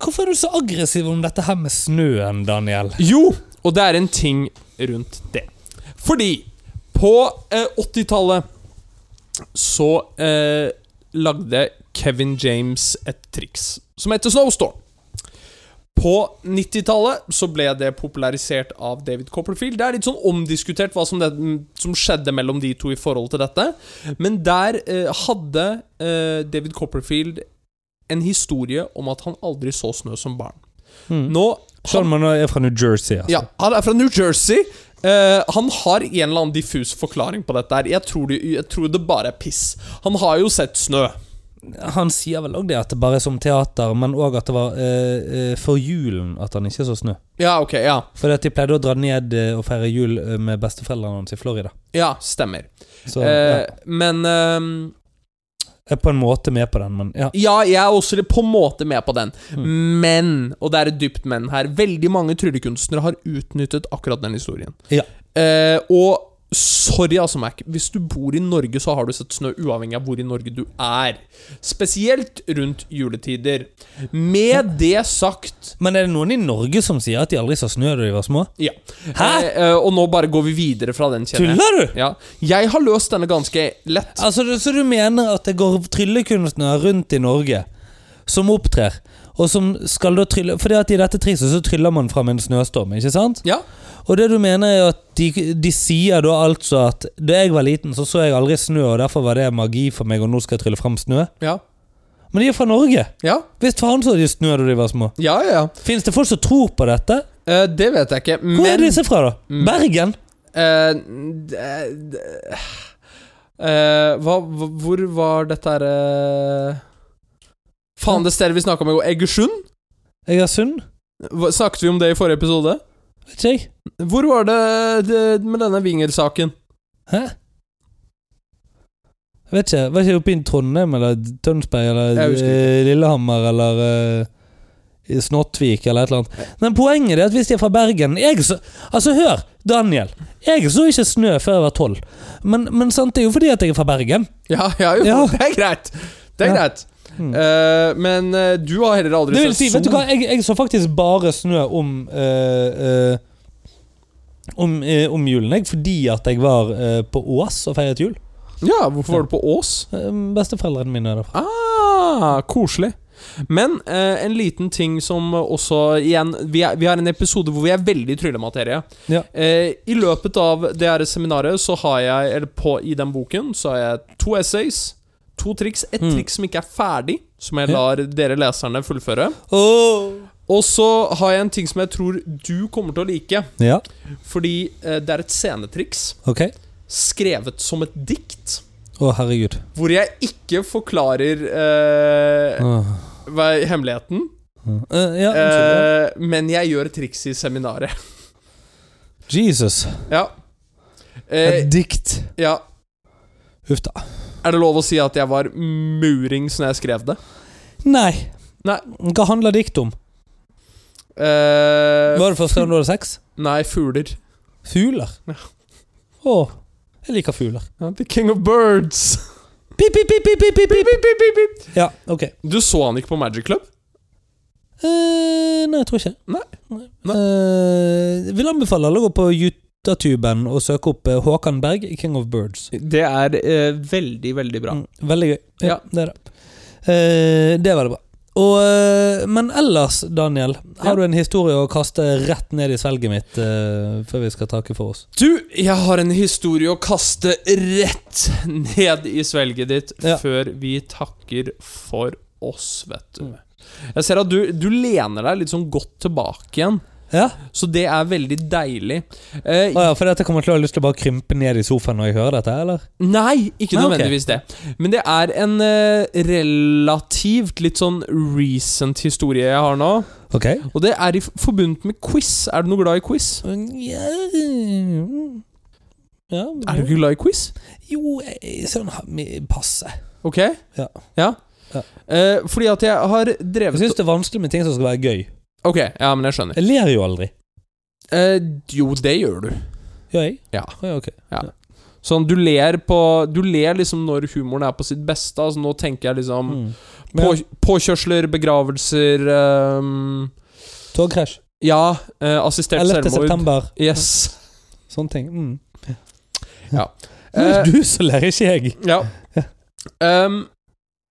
Speaker 2: hvorfor er du så aggressiv om dette her med snøen, Daniel?
Speaker 1: Jo, og det er en ting rundt det. Fordi på eh, 80-tallet så eh, lagde Kevin James et triks som heter Snowstorm. På 90-tallet så ble det popularisert av David Copperfield. Det er litt sånn omdiskutert hva som, det, som skjedde mellom de to i forhold til dette. Men der eh, hadde eh, David Copperfield en historie om at han aldri så snø som barn.
Speaker 2: Mm.
Speaker 1: Nå
Speaker 2: Selv om han er fra New Jersey. Altså.
Speaker 1: ja, han er fra New Jersey. Eh, han har en eller annen diffus forklaring på dette. her jeg tror, det, jeg tror det bare er piss. Han har jo sett snø.
Speaker 2: Han sier vel òg det, at det bare er som teater, men òg at det var eh, eh, for julen at han ikke så snø.
Speaker 1: Ja, ok, ja.
Speaker 2: Fordi at de pleide å dra ned eh, og feire jul eh, med besteforeldrene hans i Florida.
Speaker 1: Ja, stemmer.
Speaker 2: Så
Speaker 1: Eh,
Speaker 2: ja,
Speaker 1: men ehm,
Speaker 2: jeg er på en måte med på den, men ja.
Speaker 1: Ja, jeg er også litt på en måte med på den.
Speaker 2: Mm.
Speaker 1: Men, og det er et dypt men her, veldig mange tryllekunstnere har utnyttet akkurat den historien.
Speaker 2: Ja.
Speaker 1: Eh, og sorry, altså, Mac. Hvis du bor i Norge, så har du sett snø uavhengig av hvor i Norge du er. Spesielt rundt juletider. Med det sagt
Speaker 2: Men er det noen i Norge som sier at de aldri så snø da de var små?
Speaker 1: Ja.
Speaker 2: Hæ?
Speaker 1: Eh, eh, og nå bare går vi videre fra den, kjenner jeg.
Speaker 2: Tuller du?!
Speaker 1: Ja. Jeg har løst denne ganske lett.
Speaker 2: Altså, du- Så du mener at det går tryllekunstnere rundt i Norge som opptrer, og som skal da trylle Fordi at i dette trikset så tryller man fram en snøstorm, ikke sant?
Speaker 1: Ja.
Speaker 2: Og det du mener er at de, de sier da altså at da jeg var liten, så så jeg aldri snø, og derfor var det magi for meg, og nå skal jeg trylle fram snø?
Speaker 1: Ja.
Speaker 2: Men de er fra Norge!
Speaker 1: Ja,
Speaker 2: Visst faen så de snø da de var små.
Speaker 1: ja. ja, ja.
Speaker 2: Fins det folk som tror på dette?
Speaker 1: Eh, det vet jeg ikke,
Speaker 2: Hvor er
Speaker 1: men
Speaker 2: disse fra, da? Bergen?
Speaker 1: Eh, d- d- eh, hva, hva, hvor var dette her eh? Faen, det stedet vi snakka om i går. Egersund?
Speaker 2: Egersund?
Speaker 1: Hva- Snakket vi om det i forrige episode?
Speaker 2: Vet ikke jeg.
Speaker 1: Hvor var det, det med denne Winger-saken?
Speaker 2: Hæ? Jeg vet ikke. Var ikke jeg oppe i Trondheim eller Tønsberg
Speaker 1: Jeg
Speaker 2: eller
Speaker 1: husker
Speaker 2: eh, Lillehammer eller eh, i Snottvik eller et eller annet. Men poenget er at hvis de er fra Bergen jeg så, Altså, hør, Daniel. Jeg så ikke snø før jeg var tolv. Men, men sant, det er jo fordi at jeg er fra Bergen.
Speaker 1: Ja, ja, jo,
Speaker 2: Ja.
Speaker 1: det er greit. Det er
Speaker 2: Ja.
Speaker 1: greit.
Speaker 2: Mm.
Speaker 1: Eh, men eh, du har heller aldri
Speaker 2: Det vil
Speaker 1: sett
Speaker 2: si, vet du hva, jeg, jeg så faktisk bare snø om eh, eh, om, eh, om julen, jeg. Fordi at jeg var eh, på Ås og feiret jul.
Speaker 1: Ja, hvorfor var du på Ås?
Speaker 2: Eh, Besteforeldrene mine er derfra.
Speaker 1: Ah, koselig. Men eh, en liten ting som også igjen Vi, er, vi har en episode hvor vi er veldig i tryllematerie.
Speaker 2: Ja.
Speaker 1: Eh, I løpet av det her seminaret så har jeg Eller på, i den boken så har jeg to essays, to triks. Et
Speaker 2: Mm.
Speaker 1: triks som ikke er ferdig, som jeg
Speaker 2: Ja.
Speaker 1: lar dere leserne fullføre.
Speaker 2: Oh.
Speaker 1: Og så har jeg en ting som jeg tror du kommer til å like.
Speaker 2: Ja,
Speaker 1: Fordi eh, det er et scenetriks
Speaker 2: ok.
Speaker 1: skrevet som et dikt.
Speaker 2: Å, herregud.
Speaker 1: Hvor jeg ikke forklarer eh,
Speaker 2: Åh.
Speaker 1: hva er hemmeligheten,
Speaker 2: Eh, ja, unnskyld, ja.
Speaker 1: eh, men jeg gjør et triks i seminaret.
Speaker 2: Jesus.
Speaker 1: ja. Eh,
Speaker 2: Et dikt.
Speaker 1: ja.
Speaker 2: Huff da.
Speaker 1: Er det lov å si at jeg var murings når jeg skrev det?
Speaker 2: Nei.
Speaker 1: Nei.
Speaker 2: Hva handler dikt om?
Speaker 1: Eh,
Speaker 2: Var det første gang du hadde sex?
Speaker 1: nei, fugler.
Speaker 2: Fugler.
Speaker 1: Ja.
Speaker 2: Å, jeg liker fugler.
Speaker 1: Ja, the king of birds.
Speaker 2: Pip, pip, pip, pip, pip, pip, pip.
Speaker 1: Pip, pip, pip.
Speaker 2: Ja, ok.
Speaker 1: Du så han ikke på Magic Club?
Speaker 2: Eh, nei, jeg tror ikke.
Speaker 1: Nei. Nei.
Speaker 2: Eh, vil anbefale alle å gå på YouTube-en og søke opp eh, Håkan Berg, King of Birds.
Speaker 1: Det er eh, veldig, veldig
Speaker 2: Mm, veldig gøy.
Speaker 1: Ja.
Speaker 2: Ja, det er det. Eh, det var det bra. Og, eh, men ellers, Daniel, har
Speaker 1: Ja.
Speaker 2: du en historie å kaste rett ned i svelget mitt eh, før vi skal takke for oss?
Speaker 1: Du, jeg har en historie å kaste rett ned i svelget ditt
Speaker 2: Ja.
Speaker 1: før vi takker for oss, vet du. Jeg ser at du, du lener deg litt sånn godt tilbake igjen,
Speaker 2: Ja?
Speaker 1: så det er veldig deilig. Eh,
Speaker 2: Å ja, for dette kommer jeg til å ha lyst til å bare krympe ned i sofaen når jeg hører dette, eller?
Speaker 1: Nei, ikke
Speaker 2: Nei, ok.
Speaker 1: nødvendigvis det. Men det er en eh, relativt litt sånn recent historie jeg har nå.
Speaker 2: Ok.
Speaker 1: Og det er i f- forbundet med quiz. Er du noe glad i quiz?
Speaker 2: Ja, ja
Speaker 1: Er du ikke glad i quiz?
Speaker 2: Jo, jeg, sånn passe.
Speaker 1: Ok?
Speaker 2: Ja. Ja.
Speaker 1: Eh, fordi at jeg har
Speaker 2: Jeg
Speaker 1: drevet
Speaker 2: syns det er vanskelig med ting som skal være gøy.
Speaker 1: Ok, ja, men jeg skjønner.
Speaker 2: Jeg ler jo aldri.
Speaker 1: Eh, jo, det gjør du.
Speaker 2: Gjør jeg?
Speaker 1: Ja.
Speaker 2: Å, ja ok.
Speaker 1: Sånn, du ler på Du ler liksom når humoren er på sitt beste. Altså, nå tenker jeg liksom
Speaker 2: Mm.
Speaker 1: på,
Speaker 2: Men,
Speaker 1: Påkjørsler, begravelser ehm,
Speaker 2: togkrasj.
Speaker 1: Ja, eh, assistert
Speaker 2: 11.
Speaker 1: selvmord.
Speaker 2: september.
Speaker 1: Yes.
Speaker 2: Sånne ting. Mm. Nå
Speaker 1: Eh,
Speaker 2: er det du som ler, ikke jeg.
Speaker 1: Ja. Ehm,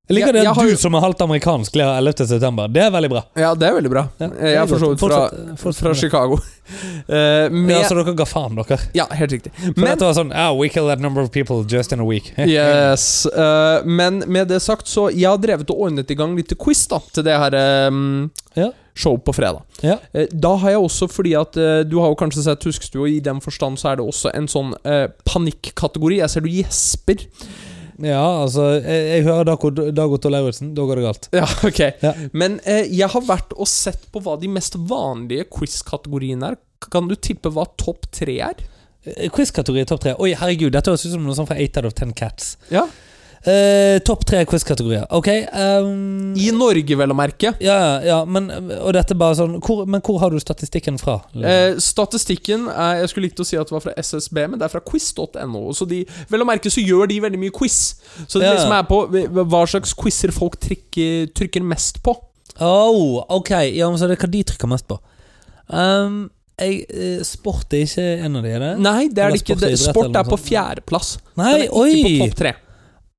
Speaker 2: Jeg liker
Speaker 1: Jeg-
Speaker 2: det
Speaker 1: jeg
Speaker 2: at
Speaker 1: har
Speaker 2: du
Speaker 1: jo-
Speaker 2: som er halvt amerikansk, ler 11. september. Det er veldig bra.
Speaker 1: ja, det er veldig bra.
Speaker 2: Ja,
Speaker 1: jeg er for så vidt fra,
Speaker 2: Fortsett- fortsett
Speaker 1: fra
Speaker 2: med det.
Speaker 1: Chicago. Eh, med,
Speaker 2: Ja, så dere ga faen, dere.
Speaker 1: ja, helt riktig.
Speaker 2: For
Speaker 1: Men
Speaker 2: dette var sånn ah, We kill that number of people just in a week.
Speaker 1: Yes. eh, men med det sagt, så Jeg har drevet og ordnet i gang litt quiz da til det her ehm,
Speaker 2: Ja.
Speaker 1: show på fredag.
Speaker 2: Ja.
Speaker 1: Eh, da har jeg også, fordi at eh, du har jo kanskje sett Huskestue, og i den forstand så er det også en sånn eh, panikkategori. Jeg ser du gjesper.
Speaker 2: Ja, altså Jeg, jeg hører Dag Otto Dag Otto Lauritzen, da går det galt.
Speaker 1: Ja, ok
Speaker 2: Ja.
Speaker 1: Men eh, jeg har vært og sett på hva de mest vanlige quiz-kategoriene er. Kan du tippe hva topp tre er?
Speaker 2: Eh, Quiz-kategori topp tre. Oi, herregud, dette høres ut som noe sånt fra 8 out of 10 Cats.
Speaker 1: Ja.
Speaker 2: Eh, topp tre quiz-kategorier. Ok ehm,
Speaker 1: I Norge, vel å merke.
Speaker 2: Ja, ja, ja, men Og dette er bare sånn hvor, Men hvor har du statistikken fra? Liksom?
Speaker 1: Eh, statistikken er, Jeg skulle likt å si at det var fra SSB, men det er fra quiz.no. Så de, Vel å merke så gjør de veldig mye quiz. Så det
Speaker 2: Ja.
Speaker 1: liksom er på hva slags quizer folk trykker, trykker mest på.
Speaker 2: Oh, ok, ja, men så er det hva de trykker mest på. Ehm, jeg, eh, sport er ikke en av de, er det?
Speaker 1: Nei, det er
Speaker 2: Eller
Speaker 1: det ikke.
Speaker 2: sport og
Speaker 1: Det,
Speaker 2: idrett
Speaker 1: sport
Speaker 2: eller
Speaker 1: er
Speaker 2: noe
Speaker 1: på
Speaker 2: sånt.
Speaker 1: fjerdeplass.
Speaker 2: Nei,
Speaker 1: Den er ikke på
Speaker 2: oi!
Speaker 1: topp tre.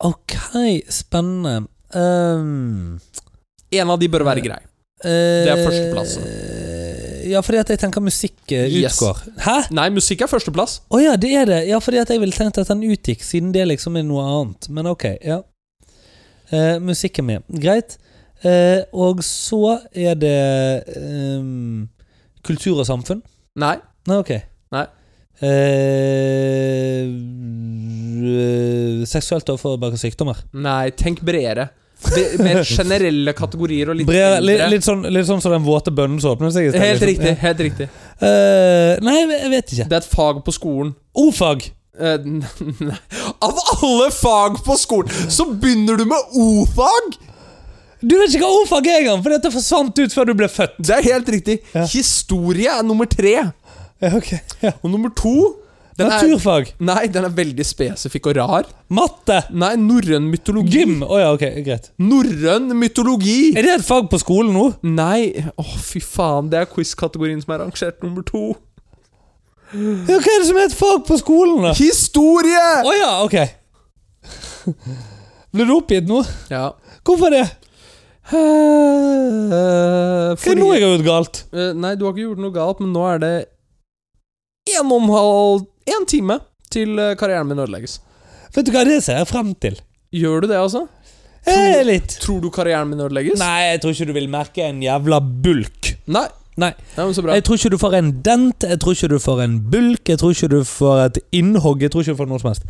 Speaker 2: Ok, spennende. Ehm,
Speaker 1: En av de bør være grei.
Speaker 2: eh,
Speaker 1: Det er førsteplassen.
Speaker 2: Ja, fordi at jeg tenker musikk eh,
Speaker 1: Yes.
Speaker 2: utgår. Hæ?
Speaker 1: Nei, musikk er førsteplass.
Speaker 2: Å ja, det er det. Ja, fordi at jeg ville tenkt at den utgikk, siden det liksom er noe annet. Men ok, ja. Eh, musikk er med. Greit. Eh, og så er det ehm, kultur og samfunn.
Speaker 1: Nei.
Speaker 2: Nei, ok.
Speaker 1: Nei.
Speaker 2: Eh, øh, seksuelt overførbare sykdommer.
Speaker 1: Nei, tenk bredere. Det- Mer generelle kategorier og litt
Speaker 2: Brer,
Speaker 1: eldre.
Speaker 2: litt, litt, sånn, litt sånn som den våte bønnen som åpner seg. i sted,
Speaker 1: Helt
Speaker 2: liksom.
Speaker 1: riktig. helt riktig
Speaker 2: Ja. Eh, nei, jeg vet ikke.
Speaker 1: Det er et fag på skolen.
Speaker 2: Ordfag!
Speaker 1: Eh, n- nei. Av alle fag på skolen, så begynner du med o-fag!
Speaker 2: Du vet ikke hva ordfag er engang, for dette forsvant ut før du ble født.
Speaker 1: Det er helt riktig.
Speaker 2: Ja.
Speaker 1: Historie er nummer tre.
Speaker 2: Ja, ok. Ja.
Speaker 1: Og nummer to den er,
Speaker 2: Naturfag.
Speaker 1: Nei, den er veldig spesifikk og rar.
Speaker 2: Matte.
Speaker 1: Nei, norrøn mytologi.
Speaker 2: Gym. Å ja, ok, greit.
Speaker 1: Norrøn mytologi!
Speaker 2: Er det et fag på skolen nå?
Speaker 1: Nei, å fy faen, det er quiz-kategorien som er rangert nummer to.
Speaker 2: Ja, hva er det som er et fag på skolen, da? Å
Speaker 1: Historie!
Speaker 2: ja, ok. Ble du oppgitt nå?
Speaker 1: Ja.
Speaker 2: Hvorfor det?
Speaker 1: Eh,
Speaker 2: Hva er det nå jeg har gjort galt?
Speaker 1: Eh, nei, du har ikke gjort noe galt, men nå er det en og en halv En time til eh, karrieren min ødelegges.
Speaker 2: Vet du hva det ser jeg frem til?
Speaker 1: Gjør du det, altså?
Speaker 2: Eh, litt.
Speaker 1: Tror du karrieren min ødelegges?
Speaker 2: Nei, jeg tror ikke du vil merke en jævla bulk.
Speaker 1: Nei.
Speaker 2: Nei.
Speaker 1: Nei, men så bra.
Speaker 2: Jeg tror ikke du får en dent, jeg tror ikke du får en bulk, jeg tror ikke du får et innhogg, jeg tror ikke du får noe som helst.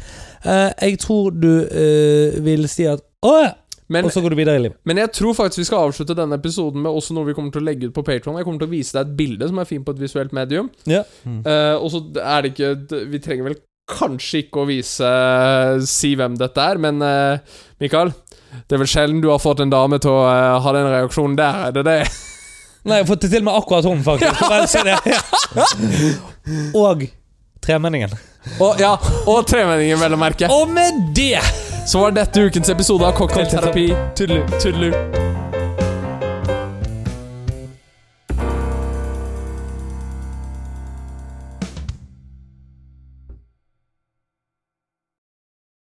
Speaker 2: Eh, jeg tror du eh, vil si at Å ja!
Speaker 1: Men,
Speaker 2: Og så går du videre i livet.
Speaker 1: men jeg tror faktisk vi skal avslutte denne episoden med også noe vi kommer til å legge ut på Patreon Jeg kommer til å vise deg et bilde som er fint på et visuelt medium.
Speaker 2: Ja.
Speaker 1: Eh, og så er det ikke Vi trenger vel kanskje ikke å vise eh, Si hvem dette er, men eh, Mikael, det er vel sjelden du har fått en dame til å eh, ha den reaksjonen der, er det det?
Speaker 2: Nei, jeg har fått det til med akkurat hun, faktisk. Bare si det. Og tremenningen.
Speaker 1: Og, ja, og tremenningen, vel å merke.
Speaker 2: Og med det
Speaker 1: Så var dette ukens episode av Cocktailterapi. Tudelu, tudelu.